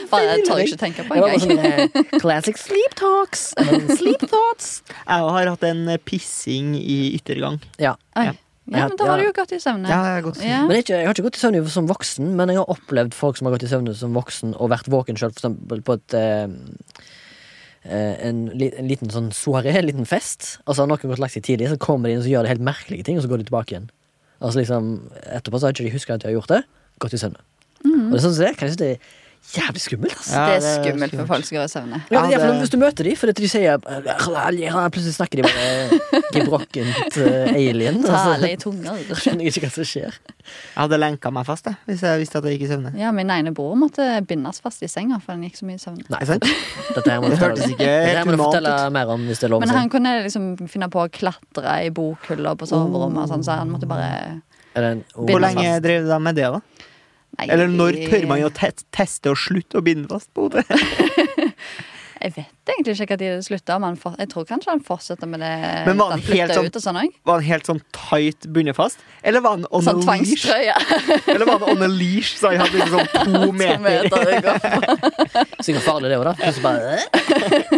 C: Bare jeg tør ikke tenke på
A: Det var bare
C: engang.
A: sånn eh, classic sleep talks. and Sleep thoughts.
B: Jeg har hatt en pissing i yttergang.
A: Ja.
C: Oi.
B: Ja.
C: Ja, men da har du jo gått i søvne.
B: Ja, jeg har gått
C: Ja.
A: Men det er ikke, Jeg har ikke gått i søvne som voksen, men jeg har opplevd folk som har gått i søvne som voksen og vært våken sjøl, f.eks. på et eh, eh, en, li- en liten sånn soaré, en liten fest, og så har noen gått og lagt seg tidlig, så kommer de inn og så gjør de helt merkelige ting, og så går de tilbake igjen. Altså liksom, Etterpå så har ikke de huska at de har gjort det. Gått i søvne. Og det er sånn som det, er, kanskje det er jævlig skummelt, ass.
B: Ja,
C: Det er
B: det er
C: skummelt
B: skummelt.
C: for folk som går i søvne.
A: Ja, men det er
B: Ja,
A: for
B: det-
A: Hvis du møter dem, fordi de sier eh, Plutselig snakker de bare gebrokkent eh, alien. og så
C: Tale i tunger.
A: skjønner jeg ikke hva som skjer.
B: Jeg hadde lenka meg fast jeg, hvis jeg visste at jeg gikk i søvne.
C: Ja, min ene bror måtte bindes fast i senga, for han gikk så mye i søvne.
A: Nei,
B: Er det sant?
A: Dette her må du
B: Det hørtes
A: fortelle,
B: ikke
A: dette her
B: helt
A: må du
B: humant
A: fortelle
B: ut.
A: mer om hvis det er lov å
C: Men
A: si.
C: han kunne liksom finne på å klatre i bokhyller på soverommet, og sånn, så han måtte bare
A: Er det en- oh,
B: Hvor
C: Bindes
B: lenge
C: fast.
B: drev du da med det, da?
C: Nei, Nei,
B: Eller når tør man jo te teste og slutte å binde fast på hodet?
C: Jeg vet egentlig ikke når det slutta. men han for- Jeg tror kanskje han fortsetter med det.
B: Men var han
C: at
B: helt
C: flytter
B: sånn-
C: ut og sånn òg.
B: Var han helt sånn tight bundet fast? Eller var han on
C: Sånn
B: a leash?
C: tvangstrøye.
B: Eller var han on a leash, så han hadde liksom sånn to
C: To
B: meter?
C: meter i går.
A: Sikkert farlig, det òg, da. Plutselig bare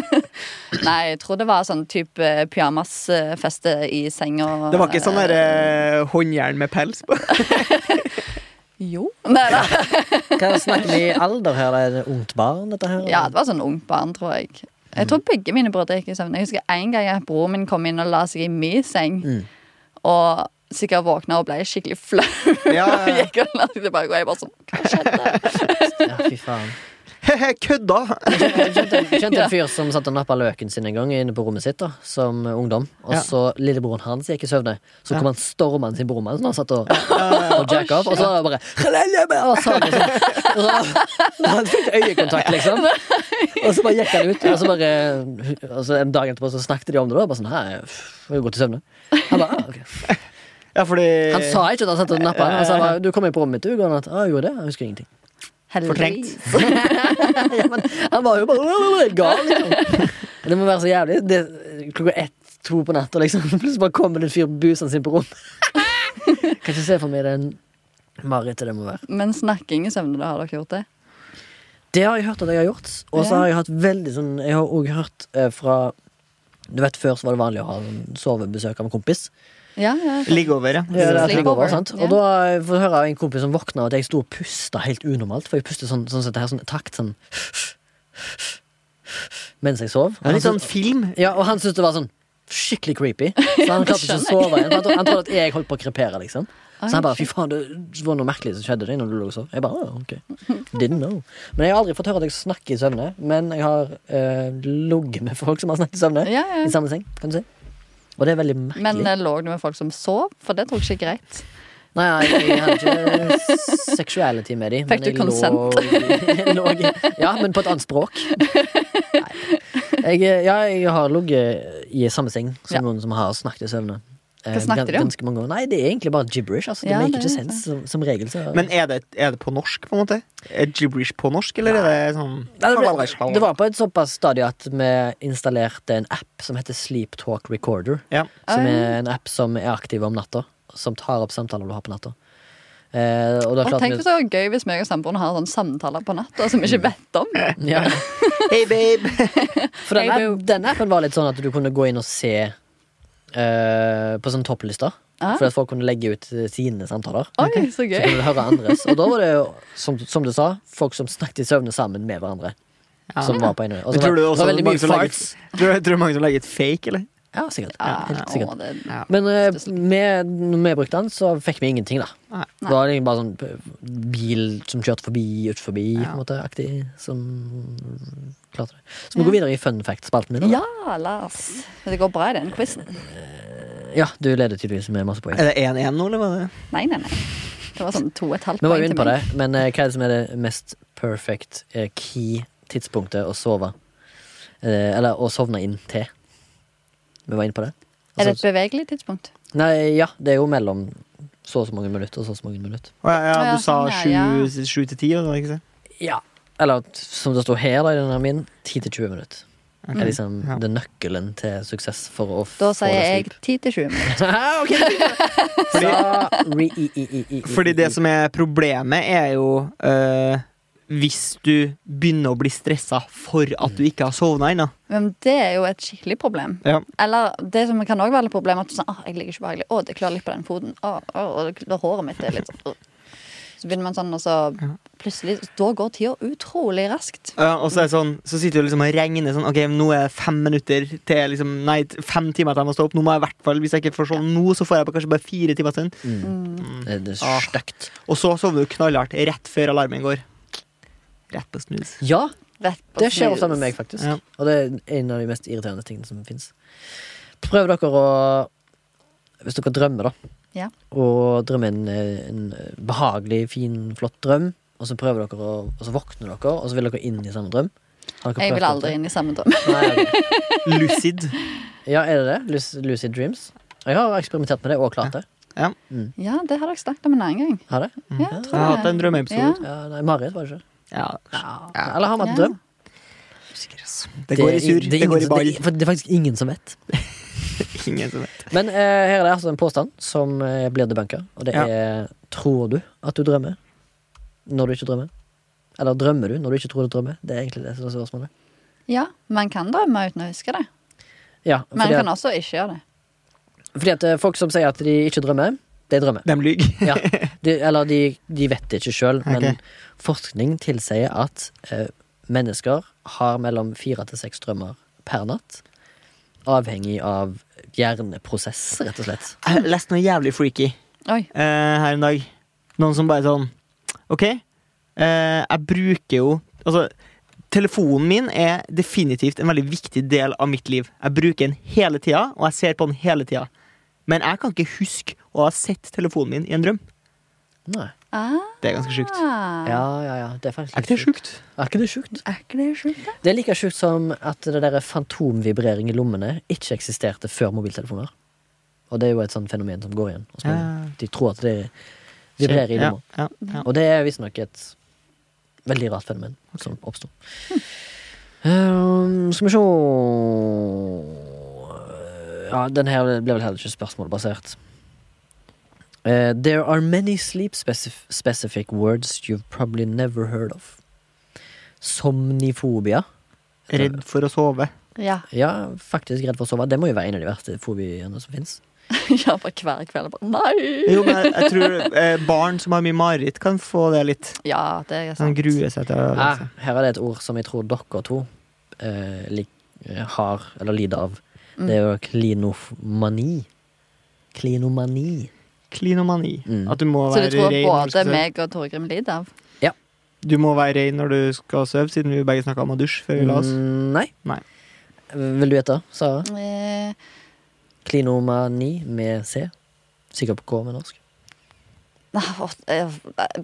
C: Nei, jeg tror det var sånn type pyjamasfeste i senga.
B: Det var ikke sånn der, eh, håndjern med pels på?
C: Jo. Nei, da.
A: Hva snakker vi i alder her? Er det ungt barn, dette her?
C: Ja, det var sånn ungt barn, tror jeg. Jeg tror begge mine brødre gikk i søvn. Jeg husker en gang at broren min kom inn og la seg i min seng.
A: Mm.
C: Og sikkert våkna og ble skikkelig flau.
B: Ja,
C: og gikk og la seg tilbake, og jeg bare sånn Hva skjedde?
A: Ja, fy faen.
B: He-he, kødda!
A: Jeg kjente, jeg kjente en fyr som satt og nappa løken sin en gang inne på rommet sitt da, som ungdom. Og
B: Ja.
A: så lillebroren hans gikk i søvne. Så
B: Ja.
A: kom han stormende inn på rommet hans når han satt og, og jacka opp. Og så var det bare Og sa han sånn. Og så- Han fikk øyekontakt, liksom. Og så bare gikk han ut. Og så bare og så en dag etterpå så snakket de om det. da Bare sånn, Hei, pff, jeg har gått i søvne. Han bare, ah, ok
B: Ja, fordi
A: Han sa ikke at han satt og nappa. Han sa bare, du kom inn på rommet mitt, du. Og han at, ah, jeg gjorde det. Jeg husker ingenting.
B: Fortrengt.
C: Heldigvis.
A: ja, men han var jo bare «Åh, helt gal, liksom. Det må være så jævlig. Det, klokka ett, to på natta, liksom. Plutselig bare kommer det en fyr busende sin på rommet. kan ikke se for meg den marerittet det må være.
C: Men snakking i søvne, da har dere gjort det?
A: Det har jeg hørt at jeg har gjort. Og så
C: Ja.
A: har jeg hatt veldig sånn Jeg har òg hørt eh, fra Du vet, Før så var det vanlig å ha sånn sovebesøk av en kompis.
C: Ja, ja.
B: Ligge over, ja.
A: Ja, det er
C: Sleepover.
A: sleepover, sant? Og da eh, får jeg høre av en kompis som våkna av at jeg sto og pusta helt unormalt. For jeg pustet sånn, sånn, sånn, sånn takt sånn mens jeg sov.
B: Det er
A: Han
B: litt sånn
A: syntes-
B: film.
A: Ja, og han syntes det var sånn skikkelig creepy. Så han klarte ikke å sove igjen. Han trodde- Han trodde at jeg holdt på å krepere, liksom. Så han bare 'fy faen, det var noe merkelig som skjedde deg når du lå og sov'. Jeg bare «Å, ok, didn't know. Men jeg har aldri fått høre at jeg snakker i søvne. Men jeg har eh, ligget med folk som har snakket i søvne.
C: Ja, ja.
A: I samme seng, kan du si. Og det er veldig merkelig.
C: Men eh, lå du med folk som sov? For det tror jeg ikke er greit.
A: Nei, nei, jeg hadde ikke sexuality med dem.
C: Fikk du
A: Ja, men på et annet språk. Nei. Jeg, ja, jeg har ligget i samme seng som
C: Ja.
A: noen som har snakket i søvne. Eh,
C: Hva
A: gan-
C: snakket de om?
A: Ganske mange ganger. Nei, det er egentlig bare gibberish. Altså. Det
C: Ja,
A: maker
C: det
A: ikke
C: er
A: sens som, som regel. Så.
B: Men er det, er det på norsk, på en måte? Er gibberish på norsk, eller er det sånn
A: Nei, det, ble, det var på et såpass stadie at vi installerte en app som heter Sleep Talk Recorder.
B: Ja.
A: Som
C: Oi.
A: er en app som er aktiv om natta. Som tar opp samtaler du har på natta. Eh, og da
C: Og
A: klarte
C: tenk
A: vi
C: hvis det var gøy hvis meg og samboeren har sånne samtaler på natta som vi ikke vet om.
A: ja.
B: Hey, babe!
A: For den,
C: Jeg
A: app, den appen var litt sånn at du kunne gå inn og se eh, på sånne topplister.
C: Ah.
A: For at folk kunne legge ut eh, sine samtaler.
C: Oi, så
A: Så
C: gøy.
A: kunne du høre andres. Og da var det jo, som, som du sa, folk som snakket i søvne sammen med hverandre. Som var på en og så
B: Men tror
A: var-
B: du det
A: det
B: også
A: var
B: er
A: veldig
B: mange
A: mye
B: som legger,
A: farts.
B: tror, tror du mange som legger et fake, eller?
A: Ja, sikkert.
C: Ja,
A: Helt sikkert.
C: Ah, å, det,
B: Ja.
A: Men eh, med, når vi brukte den, så fikk vi ingenting, da.
B: Nei.
A: Det var liksom bare sånn eh, bil som kjørte forbi, ut forbi, på en måte, aktig. Som klarte det. Så må vi gå videre i fun fact-spalten min. da.
C: ja, Lars. Det går bra i den quizen.
A: ja, du leder tydeligvis med masse poeng.
B: Er det 1-1 nå, eller var det
C: Nei, nei, nei. Det var sånn to og et halvt
A: Vi var jo
C: poeng
A: inne
C: til
A: på det,
C: meg.
A: men eh, hva er det som er det mest perfect eh, key tidspunktet å sove? Eh, eller å sovne inn til? Vi var inne på det.
C: Er det et
A: Altså,
C: bevegelig tidspunkt?
A: nei, ja, det er jo mellom så og så mange minutter og så og så mange minutter.
B: Å, ja, ja,
C: Ja,
B: du sa
C: sånn, ja,
B: 7 til 10, eller ikke sant?
A: Ja. Eller t- som det står her da, i denne min, 10-20 minutter. Det
B: Ok.
A: er liksom
B: Ja.
A: det er nøkkelen til suksess for å f-
C: Mm. Da
A: få
C: sier jeg
A: det
C: 10 til 20 minutter.
A: sleep. Hæ, ok. Sorry.
B: Fordi det som er problemet, er jo eh, hvis du begynner å bli stressa for at du ikke har sovna ennå.
C: Men det er jo et skikkelig problem.
B: Ja.
C: Eller det som kan også være et problem, at du sånn, åh, jeg ligger ikke behagelig. Å, det klør litt på den foten. Å, å, å, det klør håret mitt. Det er litt sånn. «Åh». Så begynner man sånn, og så plutselig Da går tida utrolig raskt.
B: Ja, og så, er det sånn, så sitter du liksom og regner sånn Ok, nå er det fem minutter til liksom, Nei, t- fem timer til jeg må stå opp. Nå må jeg i hvert fall, Hvis jeg ikke får sove nå, så får jeg bare- kanskje bare fire timer til.
C: Mm,
A: Eh, Det det
B: Ah.
A: er stygt.
B: Og så sovner du knallhardt rett før alarmen går. Rett på snus.
A: Ja,
C: Rett på
A: Det skjer
C: snus.
A: ofte med meg, faktisk.
B: Ja.
A: Og det er en av de mest irriterende tingene som fins. Prøv dere å Hvis dere drømmer, da.
C: Ja.
A: Og drømmer en, en behagelig, fin, flott drøm, og så prøver dere å Og så våkner dere, og så vil dere inn i samme drøm. Har dere
C: Jeg
A: prøvd
C: vil aldri
A: dette?
C: inn i samme drøm.
A: Nei, ok.
B: Lucid.
A: Ja, er det det? Lus- Lucid dreams? Jeg har eksperimentert med det og klart det.
B: Ja.
C: Ja, det har dere snakket om en annen gang.
A: Har det?
C: Ja,
A: Jeg
B: Jeg har hatt en drømmeepisode.
A: Ja, nei, Marit, var det ikke?
B: Ja.
A: Ja. Eller har man
C: Ja.
A: drøm?
B: Det går i sur, det,
A: er ingen
B: går i
A: som-
B: ball.
A: det er- for Det er faktisk ingen som vet.
B: Ingen som vet.
A: Men eh, her er det altså en påstand som eh, blir debanka, og det
B: Ja.
A: er Tror du at du drømmer når du ikke drømmer? Eller drømmer du når du ikke tror du drømmer? Det er egentlig det som er spørsmålet.
C: Ja, man kan drømme uten å huske det.
A: Ja,
C: Man
A: fordi,
C: kan
A: at,
C: også ikke gjøre det.
A: fordi at eh, folk som sier at de ikke drømmer, de drømmer.
B: De lyver.
A: Ja, de, eller de, de vet det ikke sjøl, men
B: Ok.
A: forskning tilsier at eh, mennesker har mellom fire til seks drømmer per natt. Avhengig av hjerneprosess, rett og slett.
B: Jeg leste Eh, noe jævlig freaky
C: Oi.
B: eh, her en dag. Noen som bare sånn OK, eh, jeg bruker jo Altså, telefonen min er definitivt en veldig viktig del av mitt liv. Jeg bruker den hele tida, og jeg ser på den hele tida. Men jeg kan ikke huske å ha sett telefonen min i en drøm.
A: Nei.
C: Ah,
B: Det er ganske sjukt.
A: Ja, ja, ja. Det er faktisk
B: Er ikke det
A: litt
B: sjukt?
A: sjukt. Er ikke det sjukt?
C: Er ikke det sjukt, da?
A: Det er like sjukt som at det der fantomvibrering i lommene ikke eksisterte før mobiltelefoner. Og det er jo et sånt fenomen som går igjen. hos mange.
B: Ja.
A: De tror at det vibrerer i
B: Ja,
A: lomma.
B: ja, ja.
A: Og det er visstnok et veldig rart fenomen som oppsto. Um, skal vi se Ja, den her ble vel heller ikke spørsmålbasert. Uh, there are many sleep specif specific words you've probably never heard of. Somnifobia.
B: Redd for å sove.
C: Ja.
A: Ja, faktisk redd for å sove. Det må jo være en av de verste fobiene som fins.
C: ja, bare hver kveld. Bare, nei!
B: Jo, men jeg, jeg tror eh, barn som har mye mareritt, kan få det litt.
C: Ja, det er
B: Sånn
C: sant.
B: grue seg til å
A: Ah, her er det et ord som jeg tror dere to eh, lik, eh, har, eller lider av.
C: Mm.
A: Det er jo klinofmani. Klinomani.
B: Klinomani.
A: Mm.
B: At du må
C: Så
B: være
C: du
B: rein
C: tror
B: når du
C: både
B: skal sove.
C: meg og Torgrim lider av?
B: Du må være rein når du skal sove, siden vi begge snakka om å dusje før vi la oss.
A: Mm, nei.
B: Nei.
A: Vil du gjette, Sara?
C: Eh,
A: Klinomani med C. Sikkert på K med norsk.
C: ah, for- eh,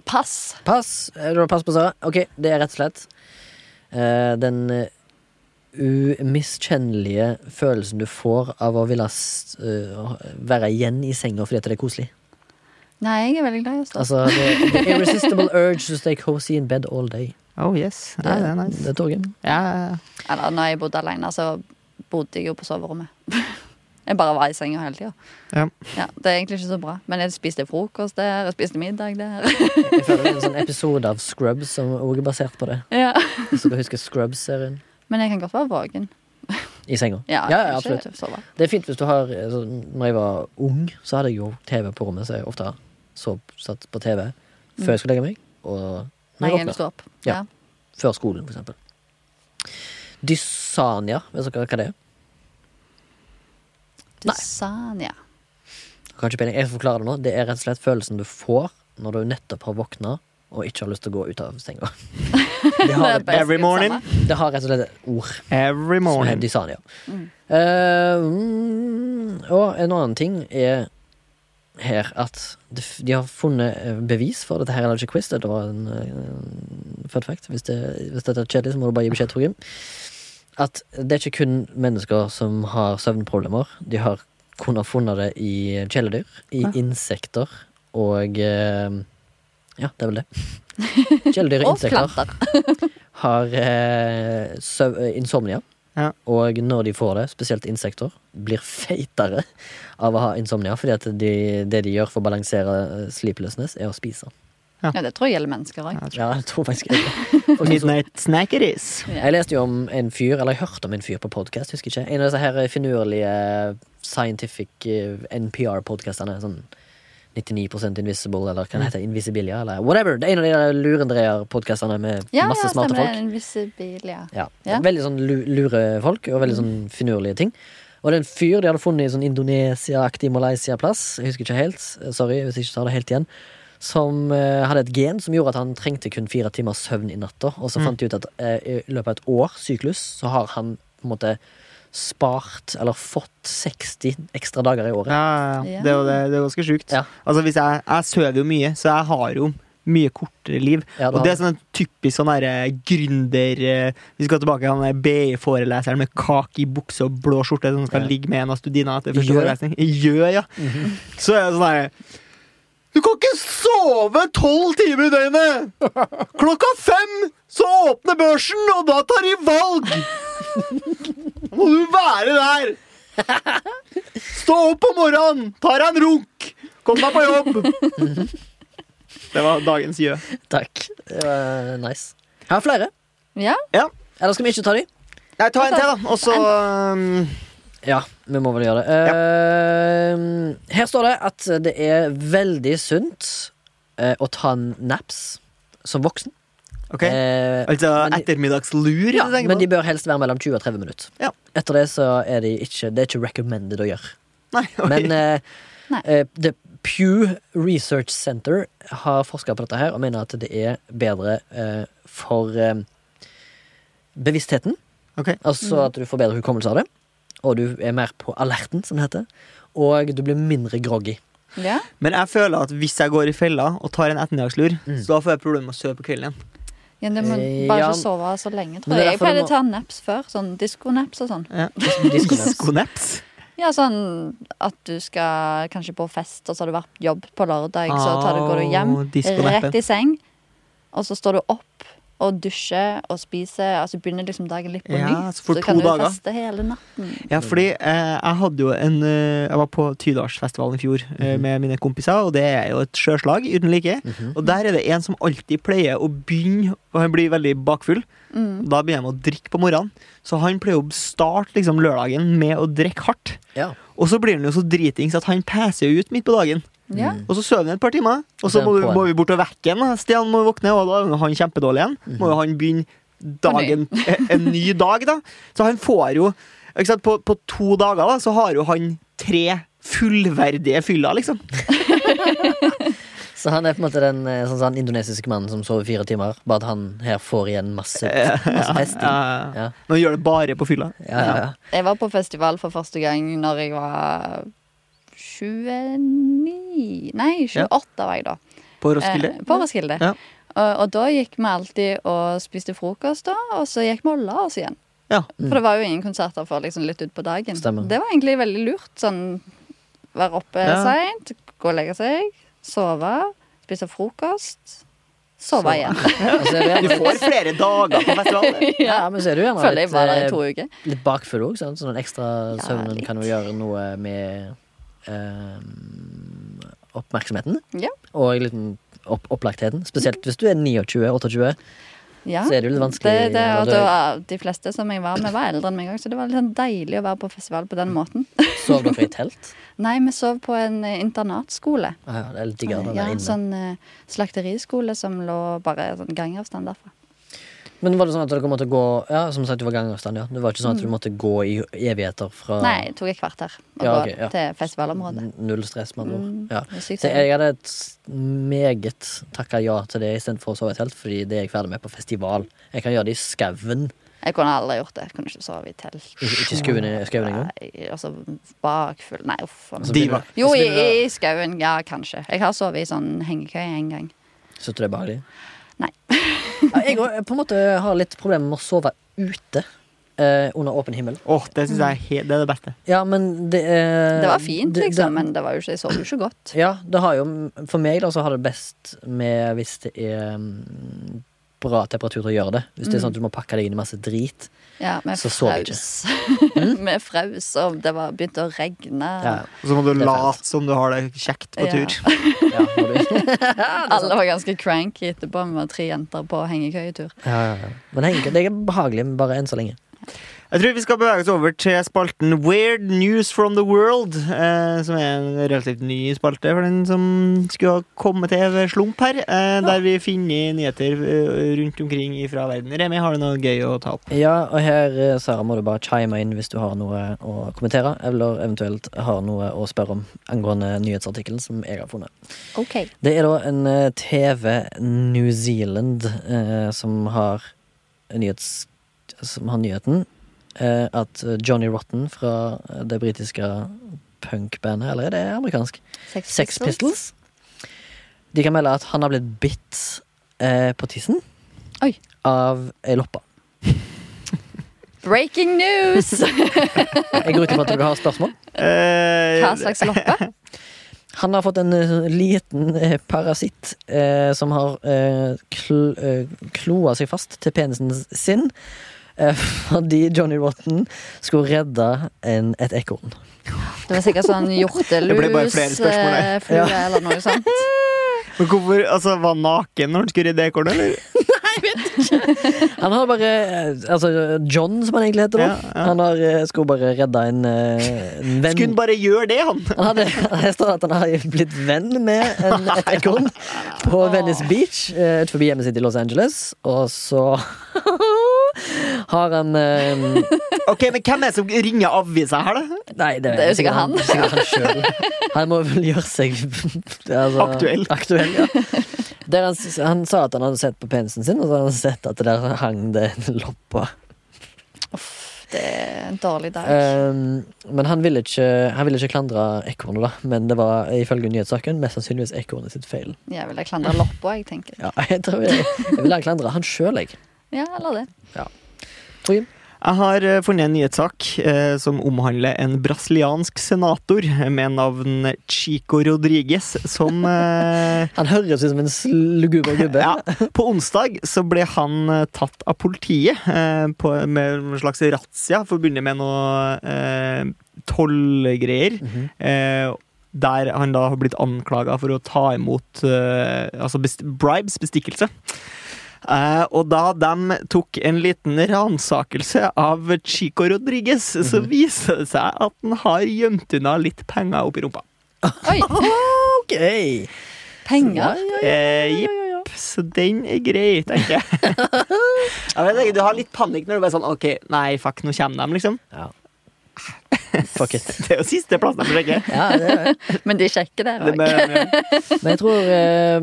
C: pass.
A: Pass. Eh, Du har pass på Sara. Ok, det er rett og slett eh, den eh, umiskjennelige følelsen du får av å ville s- eh, være igjen i senga fordi at det er koselig.
C: Nei, jeg er veldig glad i å stå.
A: Altså the, the irresistible urge to stay cozy in bed all day.
B: Oh yes. Ja, det er
A: det
B: nice.
A: er Torgrim.
B: Ja, ja, ja.
C: Eller når jeg bodde alene, så bodde jeg jo på soverommet. Jeg bare var i senga hele tida.
B: Ja.
C: det er egentlig ikke så bra. Men jeg spiste frokost der, jeg spiste middag der.
A: Jeg føler det er en sånn episode av Scrubs som også er basert på det.
C: Ja.
A: Hvis dere husker Scrubs-serien.
C: Men jeg kan godt være våken.
A: I senga.
C: Ja,
A: ja,
C: ikke
A: absolutt.
C: sove.
A: Det er fint hvis du har eh, sånn, Når jeg var ung, så hadde jeg jo TV på rommet, så jeg ofte så, satt på TV før jeg skulle legge meg, og når
C: Nei,
A: jeg
C: jeg vil
A: våkner.
C: stå opp.
A: Ja. Før skolen, for eksempel. Dysania, vet dere hva det er?
C: Du sa ja.
A: Dere har ikke peiling. Jeg skal forklare det nå. Det er rett og slett følelsen du får når du nettopp har våkna og ikke har lyst til å gå ut av senga.
B: De har det
C: basically
B: every morning.
C: det samme.
A: Det har rett og slett et ord. Som
B: Every
A: er
B: morning.
A: Dysania. Eh, mm, og en annen ting er her at det f- de har funnet eh, bevis for dette her er ikke quiz, det var en eh, fun fact. Hvis, det, hvis dette er kjedelig, så må du bare gi beskjed, Torgrim. At det er ikke kun mennesker som har søvnproblemer. De har kun har funnet det i kjæledyr, i
B: Ja.
A: insekter og eh, Ja, det er vel det. Kjæledyr og
C: Og
A: insekter
C: planter.
A: har eh, søv eh, insomnia.
B: Ja.
A: Og når de får det, spesielt insekter, blir feitere av å ha insomnia. Fordi at de, det de gjør for å balansere eh, sleeplessness, er å spise.
C: Ja, det tror jeg gjelder mennesker òg.
A: Ja, jeg tror faktisk jeg
B: Midnight snack it is.
A: Jeg leste jo om en fyr, eller jeg hørte om en fyr på podkast, husker ikke. En av disse her finurlige scientific eh, NPR-podkastene. Sånn 99 Invisible, eller
C: Mm.
A: hva det heter, Invisibilia, eller whatever. Det er en av de der lurendreier-podkastene med
C: Ja,
A: masse
C: ja,
A: smarte
C: stemmer
A: folk.
C: det. Invisibil, ja.
A: Ja.
C: Ja.
A: Veldig sånn lu- lure folk, og veldig sånn finurlige ting. Og det er en fyr de hadde funnet i sånn Indonesia-aktig Malaysia-plass, jeg husker ikke helt, eh, sorry hvis jeg ikke tar det helt igjen, som eh, hadde et gen som gjorde at han trengte kun fire timers søvn i natta, og så fant de ut at eh, i løpet av et år, syklus, så har han på en måte spart, eller fått 60 ekstra dager i året.
B: Ja, ja, ja. det, er jo det, det er ganske sjukt.
A: Ja.
B: Altså, hvis jeg, jeg sover jo mye, så jeg har jo mye kortere liv.
A: Ja,
B: Og det er sånn en typisk sånn derre gründer eh, Vi skal tilbake til han der BI-foreleseren med kake i bukse og blå skjorte som skal
A: Ja.
B: ligge med en av studina etter første
A: Gjør. Mhm.
B: forelesning. Gjør, ja. Så er det sånn derre Du kan ikke sove tolv timer i døgnet! Klokka fem så åpner børsen, og da tar de valg! Da må du være der! Stå opp om morgenen, ta deg en runk, kom deg på jobb! Det var dagens gjø.
A: Takk. Det var eh, nice. Jeg har flere.
C: Ja,
A: Eller skal vi ikke ta de?
B: Nei, ta
C: Altså,
B: en til, da. Og så um,
A: Ja, vi må vel gjøre det. Eh, Her står det at det er veldig sunt eh, å ta naps som voksen.
B: OK.
A: Eh,
B: Altså
A: men de-
B: ettermiddagslur?
A: ja,
B: du tenker
A: men de
B: på?
A: bør helst være mellom 20 og 30 minutter.
B: Ja.
A: Etter det så er de ikke, det er ikke recommended å gjøre.
B: Nei, ok.
A: Men eh,
C: Nei.
A: eh, det- Pew Research Center har forska på dette her og mener at det er bedre eh, for eh, bevisstheten.
B: Ok.
A: Altså
C: Mm.
A: at du får bedre hukommelse av det, og du er mer på alerten, som det heter. Og du blir mindre groggy.
C: ja.
B: Men jeg føler at hvis jeg går i fella og tar en ettermiddagslur,
A: Mm.
B: så da får jeg problemer med å sove på kvelden igjen.
C: ja det må
A: Eh,
C: bare
A: ja.
C: ikke sove så lenge,
A: Men
C: tror
A: det er
C: jeg. Jeg
A: derfor du
C: pleide
A: må-
C: å ta naps før. Sånn diskonaps og sånn.
B: Diskonaps?
C: Ja, sånn at du skal kanskje på fest, og så har du vært jobb på lørdag, så tar du, går du hjem,
A: Ah,
B: Au, diskonappen.
C: rett i seng, og så står du opp og dusjer og spiser, altså begynner liksom dagen litt på ny.
B: Ja, så for to
C: kan du
B: dager.
C: feste hele natten.
B: Ja, fordi eh, jeg hadde jo en eh, Jeg var på Tydalsfestivalen i fjor eh,
A: Mhm.
B: med mine kompiser, og det er jo et sjøslag uten like.
A: Mhm.
B: Og der er det en som alltid pleier å begynne Og han blir veldig bakfull.
C: Mm.
B: Da begynner han å drikke på morgenen. Så han pleier å starte liksom, lørdagen med å drikke hardt.
A: Ja.
B: Og så blir han jo så dritings at han peser jo ut midt på dagen.
C: Ja.
A: Mm.
B: Og så sover han et par timer, og
A: Og så
B: så
A: er
B: må,
A: han
B: du,
A: på
B: må vi bort og vekke han. da. Stian må våkne, og da er han kjempedårlig igjen.
A: Mhm.
B: Må jo han begynne dagen, en, en ny dag, da. Så han får jo ikke sant, på, på to dager da, så har jo han tre fullverdige fyller, liksom.
A: Så han er på en måte den eh, sånn, som han indonesiske mannen som sover fire timer, bare at han her får igjen masse, masse festing.
B: Eh,
A: Ja.
B: Men han gjør det bare på fylla.
A: Ja, ja, ja.
C: Jeg var på festival for første gang når jeg var 29, nei, 28 var jeg da.
B: På Roskilde.
C: Eh, på Roskilde.
B: Ja.
C: Og, og da gikk vi alltid og spiste frokost, da, og så gikk vi og la oss igjen.
B: Ja.
A: Mm.
C: For det var jo ingen konserter for liksom litt utpå dagen.
A: Stemmer.
C: Det var egentlig veldig lurt. Sånn være oppe
B: Ja.
C: seint, gå og legge seg, sove, spise frokost,
A: Sove.
C: sove igjen.
A: Og så er du
B: Du
A: gjerne,
B: får flere dager på festival.
A: ja, men så er du gjerne
C: Føler jeg
A: litt,
C: var der i
A: eh,
C: to uker.
A: litt bakfull òg, så den ekstra
C: Ja,
A: søvnen
C: litt.
A: kan jo gjøre noe med ehm, oppmerksomheten.
C: Ja.
A: Og litt den opp opplagtheten. Spesielt hvis du er 29-28.
C: Ja.
A: Så er det jo litt vanskelig
C: Det, det,
A: når
C: og
A: du-
C: det var, de fleste som jeg var med, var eldre enn meg òg, så det var litt sånn deilig å være på festival på den måten.
A: Sov dere i telt?
C: Nei, vi sov på en eh, internatskole.
A: Ah, ja, det er litt diggere når det er
C: Ja, en
A: inne.
C: sånn eh, slakteriskole som lå bare sånn gangavstand derfra.
A: Men var det sånn at dere måtte gå Ja, som sagt, du var gangavstand, ja. Det var ikke sånn at du måtte gå i evigheter fra
C: Mm. Nei, det tok et kvarter å
A: Ja,
C: gå
A: ok, ja.
C: til festivalområdet.
A: n- Null stress, med andre ord.
C: Mm,
A: Ja.
C: det er sykt
A: Så jeg hadde et meget takka ja til det istedenfor å sove i telt, fordi det er jeg ferdig med på festival. Jeg kan gjøre det i skauen.
C: Jeg kunne aldri gjort det. Jeg kunne ikke sove i telt.
A: Ikke ikke i skauen i- Altså, skauen engang.
C: Nei, altså bakfull Nei, uff.
A: Og så
B: Diva.
A: begynner-
C: Jo,
A: så
C: i,
A: begynner det-
C: i skauen. Ja, kanskje. Jeg har sovet i sånn hengekøye en gang.
A: Synes du det er behagelig?
C: Nei.
A: Ja, jeg òg på en måte har litt problemer med å sove ute eh, under åpen himmel.
B: Åh, det syns jeg er, he- det er det beste.
A: Ja, men det eh,
C: Det var fint,
A: det-
C: liksom,
A: det-
C: men det var jo ikke, jeg sov jo ikke godt.
A: Ja, det har jo For meg da, så har det best med hvis det er mm, bra temperatur til å gjøre det. Hvis det er
C: Mm.
A: sånn at du må pakke deg inn i masse drit.
C: Ja, vi
A: Så sov jeg
C: fraus. Vi fraus, og det var begynte å regne.
A: Ja,
B: Og så må du
A: Det er
B: late som du har det kjekt på
C: Ja.
B: tur.
A: ja, når du,
C: Alle var ganske cranky etterpå. Vi var tre jenter på hengekøyetur.
A: ja, ja, ja. Men egentlig, det er behagelig men bare enn så lenge.
B: Jeg tror vi skal bevege oss over til spalten Weird News from the World. Eh, som er en relativt ny spalte for den som skulle ha kommet til ved slump her. Eh, Der vi finner nyheter eh, rundt omkring fra verden. Remi, har du noe gøy å ta opp?
A: Ja, og her, eh, Sara, må du bare chime inn hvis du har noe å kommentere, eller eventuelt har noe å spørre om angående nyhetsartikkelen som jeg har funnet.
C: OK.
A: Det er da en eh, TV New Zealand eh, som har nyhets... Som har nyheten eh, at Johnny Rotten fra det britiske punkbandet, eller er det amerikansk? Sex Pistols, De kan melde at han har blitt bitt eh, på tissen
C: Oi.
A: av ei loppe.
C: Breaking news!
A: Jeg går ut ifra at dere har spørsmål.
B: Eh,
C: Hva slags loppe?
A: Han har fått en eh, sånn liten eh, parasitt eh, som har eh, kl eh, kloa seg fast til penisen sin eh, fordi Johnny Rotten skulle redde en, et ekorn.
C: Det var sikkert sånn
B: Det ble bare
C: hjortelus
B: flere spørsmål, det.
C: eh, flue eller noe sånt.
B: men hvorfor, altså, Var han naken når han skulle redde ekornet? eller?
A: Han har bare eh, Altså John, som han egentlig heter.
B: Ja,
A: da
B: ja.
A: Han har, eh, skulle bare redde en, eh, en venn.
B: Skulle han bare gjøre det, han?
A: Han hadde, her står det at han har blitt venn med en, et ekorn på Venice Beach eh, utenfor hjemmet sitt i Los Angeles. Og så har han eh,
B: Ok, men Hvem er det som ringer avisa her, da?
A: Nei, det,
C: Det er jo sikkert han.
A: Sikkert han selv. Han må vel gjøre seg altså,
B: Aktuell.
A: aktuell, ja. Der han, s- han sa at han hadde sett på penisen sin, og så hadde han sett at der hang det en loppe.
C: Uff, det er en dårlig dag.
A: Um, men han ville ikke, han ville ikke klandre ekornet, da. Men det var ifølge nyhetssaken mest sannsynligvis ekornet sitt feil.
C: Jeg ville klandre loppa, jeg tenker.
A: Ja, jeg tror jeg, jeg vil ha klandra han sjøl, jeg.
C: Ja, eller det.
A: Torgrim?
B: Jeg har eh, funnet en nyhetssak eh, som omhandler en brasiliansk senator med navn Chico Rodriguez, som eh,
A: Han høres ut som en sluguber gubbe.
B: Ja, på onsdag så ble han eh, tatt av politiet eh, på, med en slags razzia forbundet med noe eh, tollgreier.
A: Mhm.
B: eh, der han da har blitt anklaga for å ta imot eh, altså best bribes, bestikkelse. Eh, og da de tok en liten ransakelse av Chico Rodriguez, så
A: Mhm.
B: viser det seg at han har gjemt unna litt penger oppi rumpa.
C: Oi,
A: Ok! Ja,
C: penger.
A: ja, ja,
B: Eh,
A: ja,
B: jipp.
A: ja, ja.
B: Så den er grei, tenker jeg. jeg vet ikke, du har litt panikk når du bare sånn OK, nei, fuck, nå kommer de, liksom.
A: ja. Fuck it.
B: Det er jo siste plassen de sjekker.
A: Ja, det er det.
C: Men de sjekker det
B: Det
C: òg.
B: med-
A: Men jeg tror eh,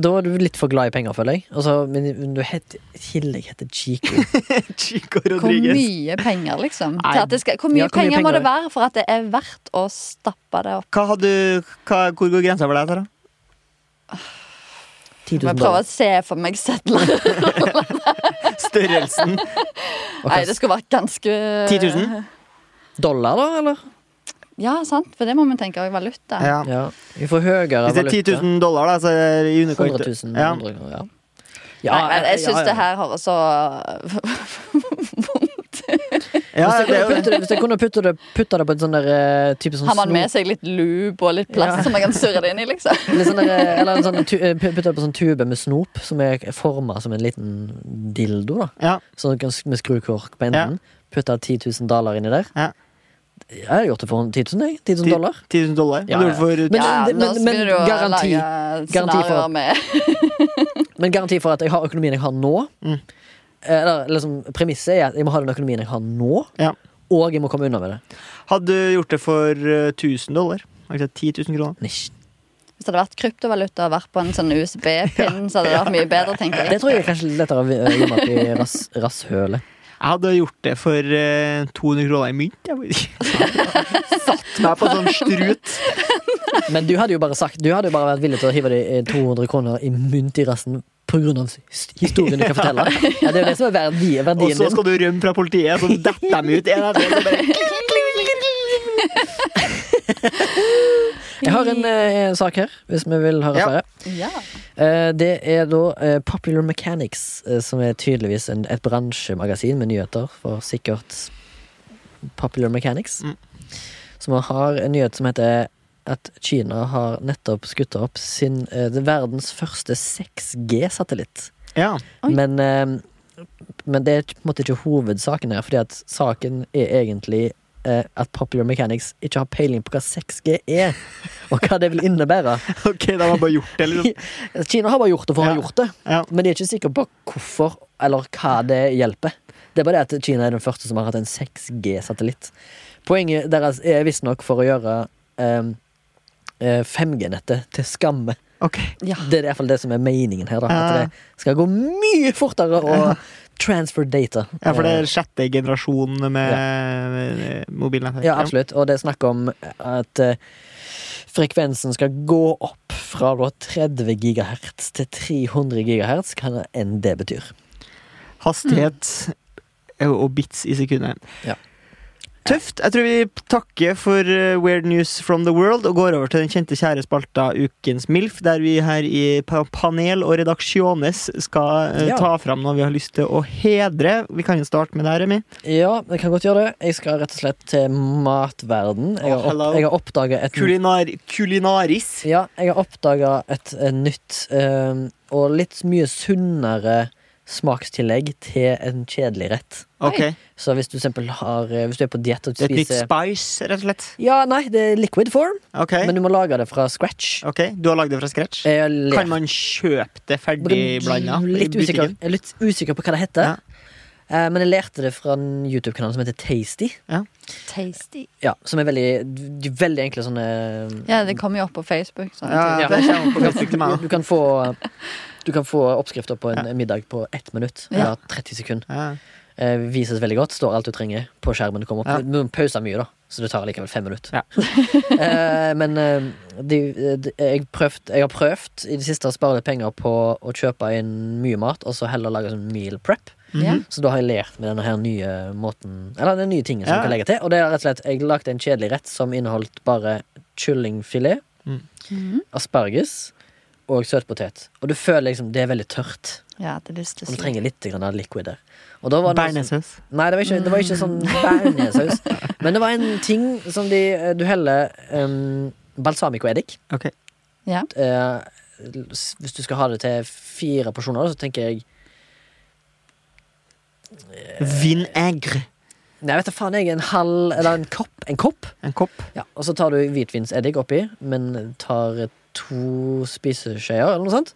A: Da er du litt for glad i penger, føler jeg. Altså, men du heter i tillegg heter Chico.
B: Chico
C: Hvor
B: Rodriguez.
C: mye penger, liksom?
B: Nei,
C: Til at det skal, hvor mye
A: ja, hvor mye
C: penger
A: penger?
C: må det være for at det er verdt å stappe det opp?
B: Hva har du, hva, hvor går grensa for deg, Sara?
A: 10
C: Må
A: 000
C: jeg prøve
A: dollar.
C: å se for meg sedler.
B: Størrelsen?
A: Og
C: Nei,
A: hva-
C: det skulle vært ganske
B: 10 000?
A: Dollar, da, eller?
C: Ja, sant, for det må man tenke òg valuta.
B: Ja.
A: Ja. Vi får høyere
B: Hvis det er 10 000 dollar, da, så er det i underkant
A: 100 000.
B: Ja.
A: 100 000, ja.
C: Nei, men jeg
A: ja,
C: syns
A: ja.
C: det her altså- høres så
B: Ja,
A: Hvis jeg kunne
B: det er jo
A: putte det, hvis jeg kunne putte det, putte det på en sånn der eh, type sånn
C: Har man
A: snor-
C: med seg litt loop og litt plast
A: Ja.
C: som man kan surre det inn i, liksom?
A: Litt sånn der, eh, eller en sånn tu, eh, putte det på sånn tube med snop som er forma som en liten dildo. da
B: ja.
A: Sånn kan- Med skrukork på enden. Putte 10 000 dollar inni der.
B: Ja.
A: Jeg har gjort det for 10 000, jeg. 10 000
B: 10
A: dollar.
B: 10 000 dollar.
A: Ja,
B: Du gjorde det for-
A: Men-
C: ja,
A: det-
C: nå
A: men-
C: begynner du å
A: garanti-
C: lage
A: garanti for
C: scenarioer
A: at-
C: med
A: Men garanti for at jeg har økonomien jeg har nå.
B: Mm.
A: Eh, Eller liksom, Premisset er at jeg må ha den økonomien jeg har nå,
B: Ja.
A: og jeg må komme unna med det.
B: Hadde du gjort det for eh, 1000 dollar? Altså 10 000 kroner?
A: Nisj.
C: Hvis det hadde vært kryptovaluta og vært på en sånn USB-pinn, så hadde det vært mye bedre, tenker
A: Det
C: jeg.
A: tror jeg er kanskje litt lettere å vi- eh, gjemme opp i rass, rasshølet.
B: Jeg hadde gjort det for eh, 200 kroner i mynt. Jeg vet ikke. Satt meg på sånn strut.
A: Men du hadde jo bare sagt Du hadde jo bare vært villig til å hive de eh, 200 kroner i mynt i rassen pga. historien du kan fortelle. Ja, det er jo det som er verdi,
B: Og
A: verdien
B: så
A: din.
B: skal du rømme fra politiet, så detter dem ut en etter en. så bare-
A: Jeg har en eh, sak her, hvis vi vil høre
B: Ja.
A: flere.
C: Ja.
A: Eh, Det er da eh, Popular Mechanics, eh, som er tydeligvis en, et bransjemagasin med nyheter for sikkert Popular Mechanics.
B: Mm.
A: Som har en nyhet som heter at Kina har nettopp skutt opp sin eh, det verdens første 6G-satellitt.
B: Ja.
C: Oi.
A: Men, eh, men det er på en måte ikke hovedsaken her, fordi at saken er egentlig eh, at Popular Mechanics ikke har peiling på hva 6G er, og hva det vil innebære.
B: Ok, de har bare gjort det. Liksom.
A: Kina har bare gjort det for å ha
B: Ja.
A: gjort det,
B: Ja.
A: men de er ikke sikre på hvorfor eller hva det hjelper. Det er bare det at Kina er den første som har hatt en 6G-satellitt. Poenget deres er visstnok for å gjøre em, eh, 5G-nettet til skamme.
B: Ok.
C: Ja.
A: Det er i hvert fall det som er meningen her. Da.
B: Ja.
A: At det skal gå mye fortere å transfer data.
B: ja, for det
A: Eh,
B: er sjette generasjon med med mobilnett.
A: Ja, absolutt. Og det er snakk om at eh, frekvensen skal gå opp fra da 30 gigahertz til 300 gigahertz, hva enn det betyr.
B: Hastighet eh, og bits i sekundet.
A: Ja.
B: Tøft. Jeg tror vi takker for eh, Weird News from the World og går over til den kjente kjære spalta Ukens MILF, der vi her i pa- panel og redaksjones skal eh,
A: Ja.
B: ta fram noe vi har lyst til å hedre. Vi kan jo starte med det her, Remi.
A: Ja, jeg kan godt gjøre det. Jeg skal rett og slett til matverden. Jeg har,
B: Oh, hello.
A: opp, jeg har oppdaga et
B: Kulinar kulinaris.
A: Ja, jeg har oppdaga et, eh, nytt eh, og litt mye sunnere smakstillegg til en kjedelig rett.
B: Ok.
A: Så hvis du for eksempel har eh, Hvis du er på diett og
B: Et nytt
A: spiser
B: spice, rett og slett.
A: Ja, nei, det er liquid form,
B: Ok.
A: men Eh, du må lage det fra scratch.
B: ok, Du har lagd det fra scratch?
A: Jeg ler.
B: Kan man kjøpe det ferdig blanda?
A: Litt usikker, jeg er litt usikker på hva det heter.
B: Ja.
A: Eh, Men jeg lærte det fra en YouTube-kanal som heter Tasty.
C: Tasty.
A: Ja, som er veldig, de er veldig enkle sånne
C: Ja, det kommer jo opp på Facebook. Sånn.
B: Ja,
A: Ja.
B: det kommer på Facebook til meg
A: du,
B: nå.
A: du, kan få, du kan få oppskrifter på en middag på ett minutt.
C: Ja.
A: Eller 30 sekunder.
B: Ja.
A: Eh, vises veldig godt. Står alt du trenger på skjermen. Du kommer opp.
B: Ja.
A: Du må pause mye, da, så det tar likevel fem minutter.
B: Ja.
A: eh, men eh, de, de, jeg, prøvd, jeg har prøvd i det siste å spare litt penger på å kjøpe inn mye mat, og så heller lage sånn meal prep.
B: Mhm.
C: Ja.
A: Så da har jeg lært med denne her nye måten Eller den nye tingen som
B: Ja.
A: jeg kan legge til. Og det er rett og slett Jeg lagde en kjedelig rett som inneholdt bare kyllingfilet,
C: Mhm.
A: asparges og søtpotet. Og du føler liksom det er veldig tørt.
C: ja, jeg hadde lyst til
A: Og du
C: å si
A: trenger litt grann av liquid der. Og da var det noe som-
B: Bearnéssaus.
A: Nei, det var ikke, det var ikke sånn bearnéssaus. Men det var en ting som de Du heller um, balsamicoeddik.
B: Ok.
C: Ja.
A: Eh, s- hvis du skal ha det til fire porsjoner, så tenker jeg
B: Vinegre.
A: Nei, vet du faen, jeg er en halv Eller en kopp. En kopp.
B: En kopp.
A: Ja, og så tar du hvitvinseddik oppi, men tar to spiseskjeer eller noe sånt.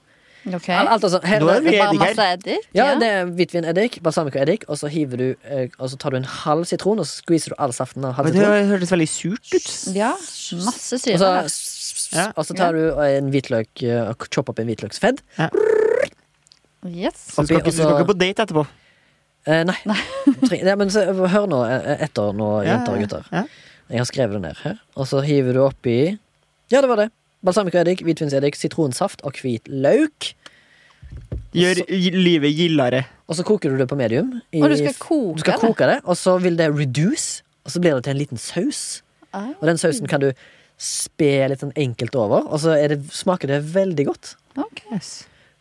C: OK.
A: Al- Alt er sånn, her,
B: Da er vi-
C: Bare
B: eddik her.
C: masse eddik?
A: ja, det er hvitvineddik, balsamicoeddik, og så hiver du eh, Og så tar du en halv sitron, og så skviser du all saften av halv
B: Det
A: sitron.
B: hørtes veldig surt ut.
C: Ja, masse
A: Og
C: syre.
A: så,
C: her.
B: Ja.
A: og så tar du en hvitløk eh, og chopper opp en hvitløksfedd.
C: Yes.
B: Så du skal, ikke, du skal ikke på date etterpå.
A: Eh, nei. Tre- Ja, men så, hør nå eh, etter nå, jenter og gutter.
B: Ja.
A: Jeg har skrevet det ned her. Og så hiver du oppi Ja, det var det. Balsamicoeddik, hvitvinseddik, sitronsaft og hvitløk.
B: Gjør gi- livet gildere.
A: Og så koker du det på medium. i-
C: Og du skal koke
A: du skal
C: det?
A: koke det, og så vil det reduce, og så blir det til en liten saus.
C: Ah.
A: Og den sausen kan du spe litt sånn enkelt over, og så er det, smaker det veldig godt.
C: Ok. Mm.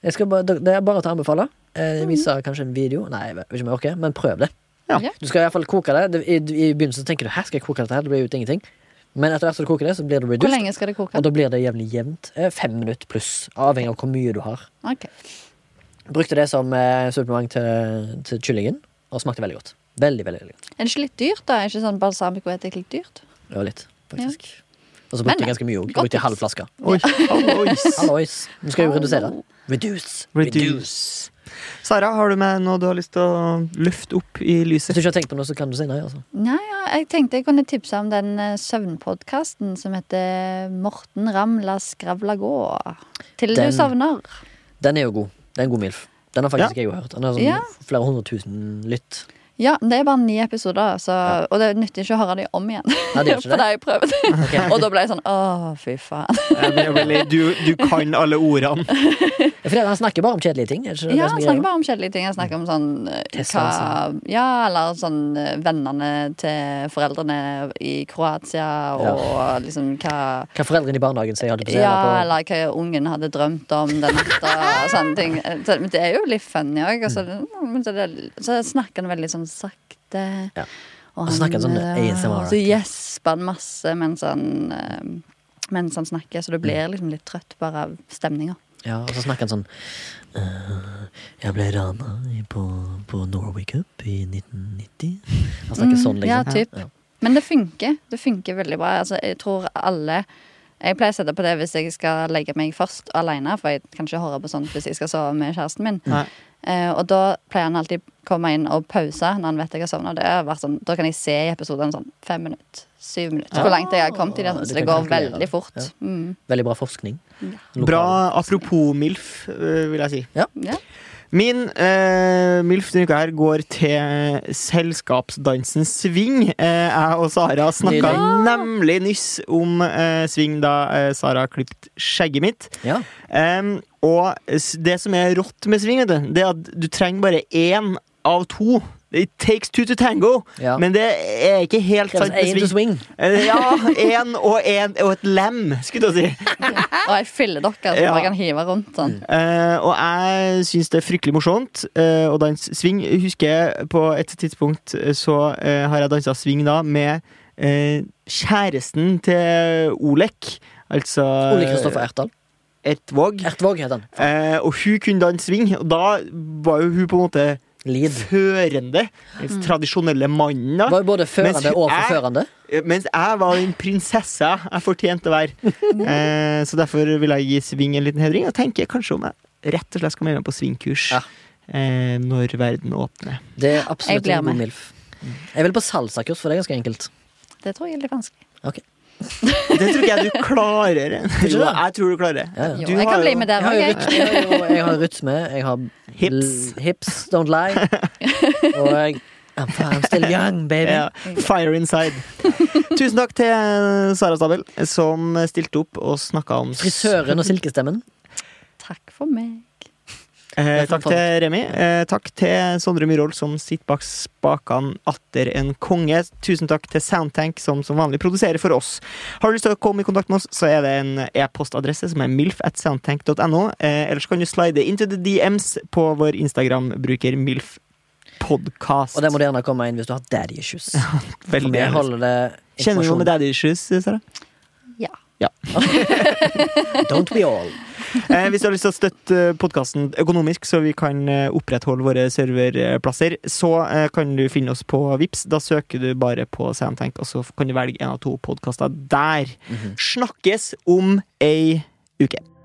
A: Jeg skal bare, det er bare til å anbefale. Eh, Jeg viser kanskje en video. Nei, jeg vet ikke om jeg orker, men prøv det.
B: Ja.
C: Ja.
A: Du skal i hvert fall koke det. det i, I begynnelsen så tenker du 'hæ, skal jeg koke dette her?' Det blir jo ingenting. Men etter hvert som du koker det, så blir det
C: Hvor
A: reduced.
C: lenge skal det koke?
A: Og da blir det jevnlig jevnt. eh, Fem minutter pluss, avhengig av hvor mye du har.
C: Ok.
A: Brukte det som eh, supplement til, til kyllingen, og smakte veldig godt. Veldig, veldig, veldig godt.
C: Er det ikke litt dyrt, da? Er ikke sånn balsamico eddik litt dyrt?
A: Det var litt, faktisk. Og så
C: Men,
A: brukte jeg ganske mye òg.
C: godt
A: Brukte
C: tips.
A: jeg halv flaske.
B: Oi. Hallois.
A: Hallois. Du skal jo redusere.
C: Hallo.
A: Reduce.
B: Reduce. Sara, har du med noe du har lyst til å løfte opp i
A: Hvis du
B: lyset?
A: ikke har tenkt på noe, så kan du si nei. Altså.
C: Nei, ja, jeg tenkte jeg kunne tipse om den eh, søvnpodkasten som heter Morten Ramla skravla gå. Til
A: Den-
C: du sovner.
A: Den er jo god. Det er en god milf. Den har faktisk jeg jo hørt. Den har sånn
C: Ja.
A: flere hundre tusen lytt.
C: Ja, det er bare ni episoder, så, og det nytter ikke å høre dem om igjen.
A: Nei, det gjør ikke
C: For det
A: det.
C: har jeg prøvd.
A: Ok.
C: Og da ble jeg sånn åh, fy faen.
B: Ja, det er veldig- Du, du kan alle ordene.
A: Fordi han snakker bare om kjedelige ting. Er det ikke det
C: Ja,
A: som er Mm.
C: jeg snakker
A: greia?
C: bare om kjedelige ting. Jeg snakker om sånn eh, hva
A: Testanse.
C: Ja, eller sånn eh, vennene til foreldrene i Kroatia, og liksom hva
A: Hva foreldrene i barnehagen sier. holdt jeg på å si,
C: Ja,
A: eller på-
C: eller hva ungen hadde drømt om den natta. og sånne ting. Eh, Så- Men det er jo litt funny òg. Altså, men så, det- så snakker han veldig sånn sakte.
A: Mm. Ja.
C: Og
A: Og så snakker han sånn
C: eh,
A: ASMR -aktig.
C: Så gjesper han masse mens han, eh, mens han snakker,
A: Mm.
C: så du blir liksom litt trøtt bare av stemninga.
A: Ja, og så snakker han sånn «Eh, Jeg ble rana i- på, på Norway Cup i 1990. Han snakker sånn,
C: Mm, ja,
A: liksom.
C: typ. Men det funker. Det funker veldig bra. Altså, jeg tror alle jeg pleier å sette på det hvis jeg skal legge meg først alene, for jeg kan ikke høre på sånt hvis jeg skal sove med kjæresten min.
B: Nei.
C: Eh, og da pleier han alltid komme inn og pause når han vet jeg har sovna. Det har vært sånn, da kan jeg se i episoden sånn fem minutter, syv minutter, hvor langt jeg har kommet i det.
A: Ah,
C: Sånn,
A: du
C: så det
A: kan
C: går
A: kalkulere det.
C: veldig fort.
A: Ja.
C: Mm.
A: Veldig bra forskning. Lokal-
B: Bra apropos MILF, øh, eh, vil jeg si.
C: Ja.
B: Min eh, MILF denne uka her går til selskapsdansen swing. Eh, jeg og Sara snakka
A: Nydelig.
B: nemlig nyss om eh, swing da eh, Sara klippet skjegget mitt.
A: Ja.
B: Em, og s- det som er rått med swing, vet du, det er at du trenger bare én av to. It takes two to tango,
A: ja. altså
B: men det er ikke helt
A: Kreves
B: sant med
A: én to
B: swing.
A: swing.
B: Eh, Ja, én og, en, og et lem, skulle jeg til å si.
C: Og ei filledokke som
B: Ja.
C: man kan hive rundt.
A: Mm.
C: sånn.
B: Eh, og jeg syns det er fryktelig morsomt eh, å danse swing. Jeg Husker jeg på et tidspunkt eh, så eh, har jeg dansa swing da med eh, kjæresten til Olek. Altså
A: Ole Kristoffer Ertdal.
B: Ertvåg.
A: Ertvåg heter han.
B: Eh, og hun kunne danse swing, og da var jo hun på en måte
A: Lid.
B: førende. Den tradisjonelle mannen, da.
A: Var jo både førende
B: Mens
A: og
B: jeg-
A: forførende.
B: Eh, Mens jeg var den prinsessa jeg fortjente å være. Eh, så derfor vil jeg gi swing en liten hedring, og tenker kanskje om jeg rett og slett skal melde meg på swingkurs
A: Ja.
B: eh, når verden åpner.
A: Det er absolutt
C: Jeg blir
A: en god
C: med.
A: milf. Mm. Jeg vil på salsakurs, for det er ganske enkelt.
C: Det tror jeg er litt vanskelig.
B: Det tror ikke jeg du klarer.
A: du
B: Jo,
A: det?
B: jeg tror du klarer det.
A: Ja, ja.
C: Jo,
B: Du
C: jeg
B: har
C: kan bli
B: jo-
C: med der
A: Jeg har,
C: òg,
A: jo
C: jeg.
A: rytme, jeg, har jo, jeg har rytme, jeg har
B: Hips.
A: l- hips don't lie. Og jeg I'm, I'm still young, baby.
B: Ja, fire inside. Tusen takk til Sara Stabel, som stilte opp og snakka om
A: Frisøren og silkestemmen.
C: Takk for meg.
B: Eh,
A: Det er
B: takk til Remi. Eh, takk til Sondre Myhrvold, som sitter bak spakene atter en konge. Tusen takk til Soundtank, som som vanlig produserer for oss. Har du lyst til å komme i kontakt med oss, så er det en e-postadresse som er milf at soundtank.no. Eh, ellers kan du slide into the DMs på vår Instagram-bruker milfpodkast.
A: Og der må du gjerne komme inn hvis du har daddy issues. For
B: Veldig
A: vi
B: gjerne.
A: holder det
B: Kjenner du noe
A: informasjon.
B: med daddy issues, Sara?
C: Ja.
A: Don't we all.
B: Eh, hvis du har lyst til å støtte podkasten økonomisk, så vi kan eh, opprettholde våre serverplasser, så eh, kan du finne oss på Vips. Da søker du bare på Soundtank, og så
A: Mhm.
B: kan du velge en av to podkaster der. Snakkes om ei uke.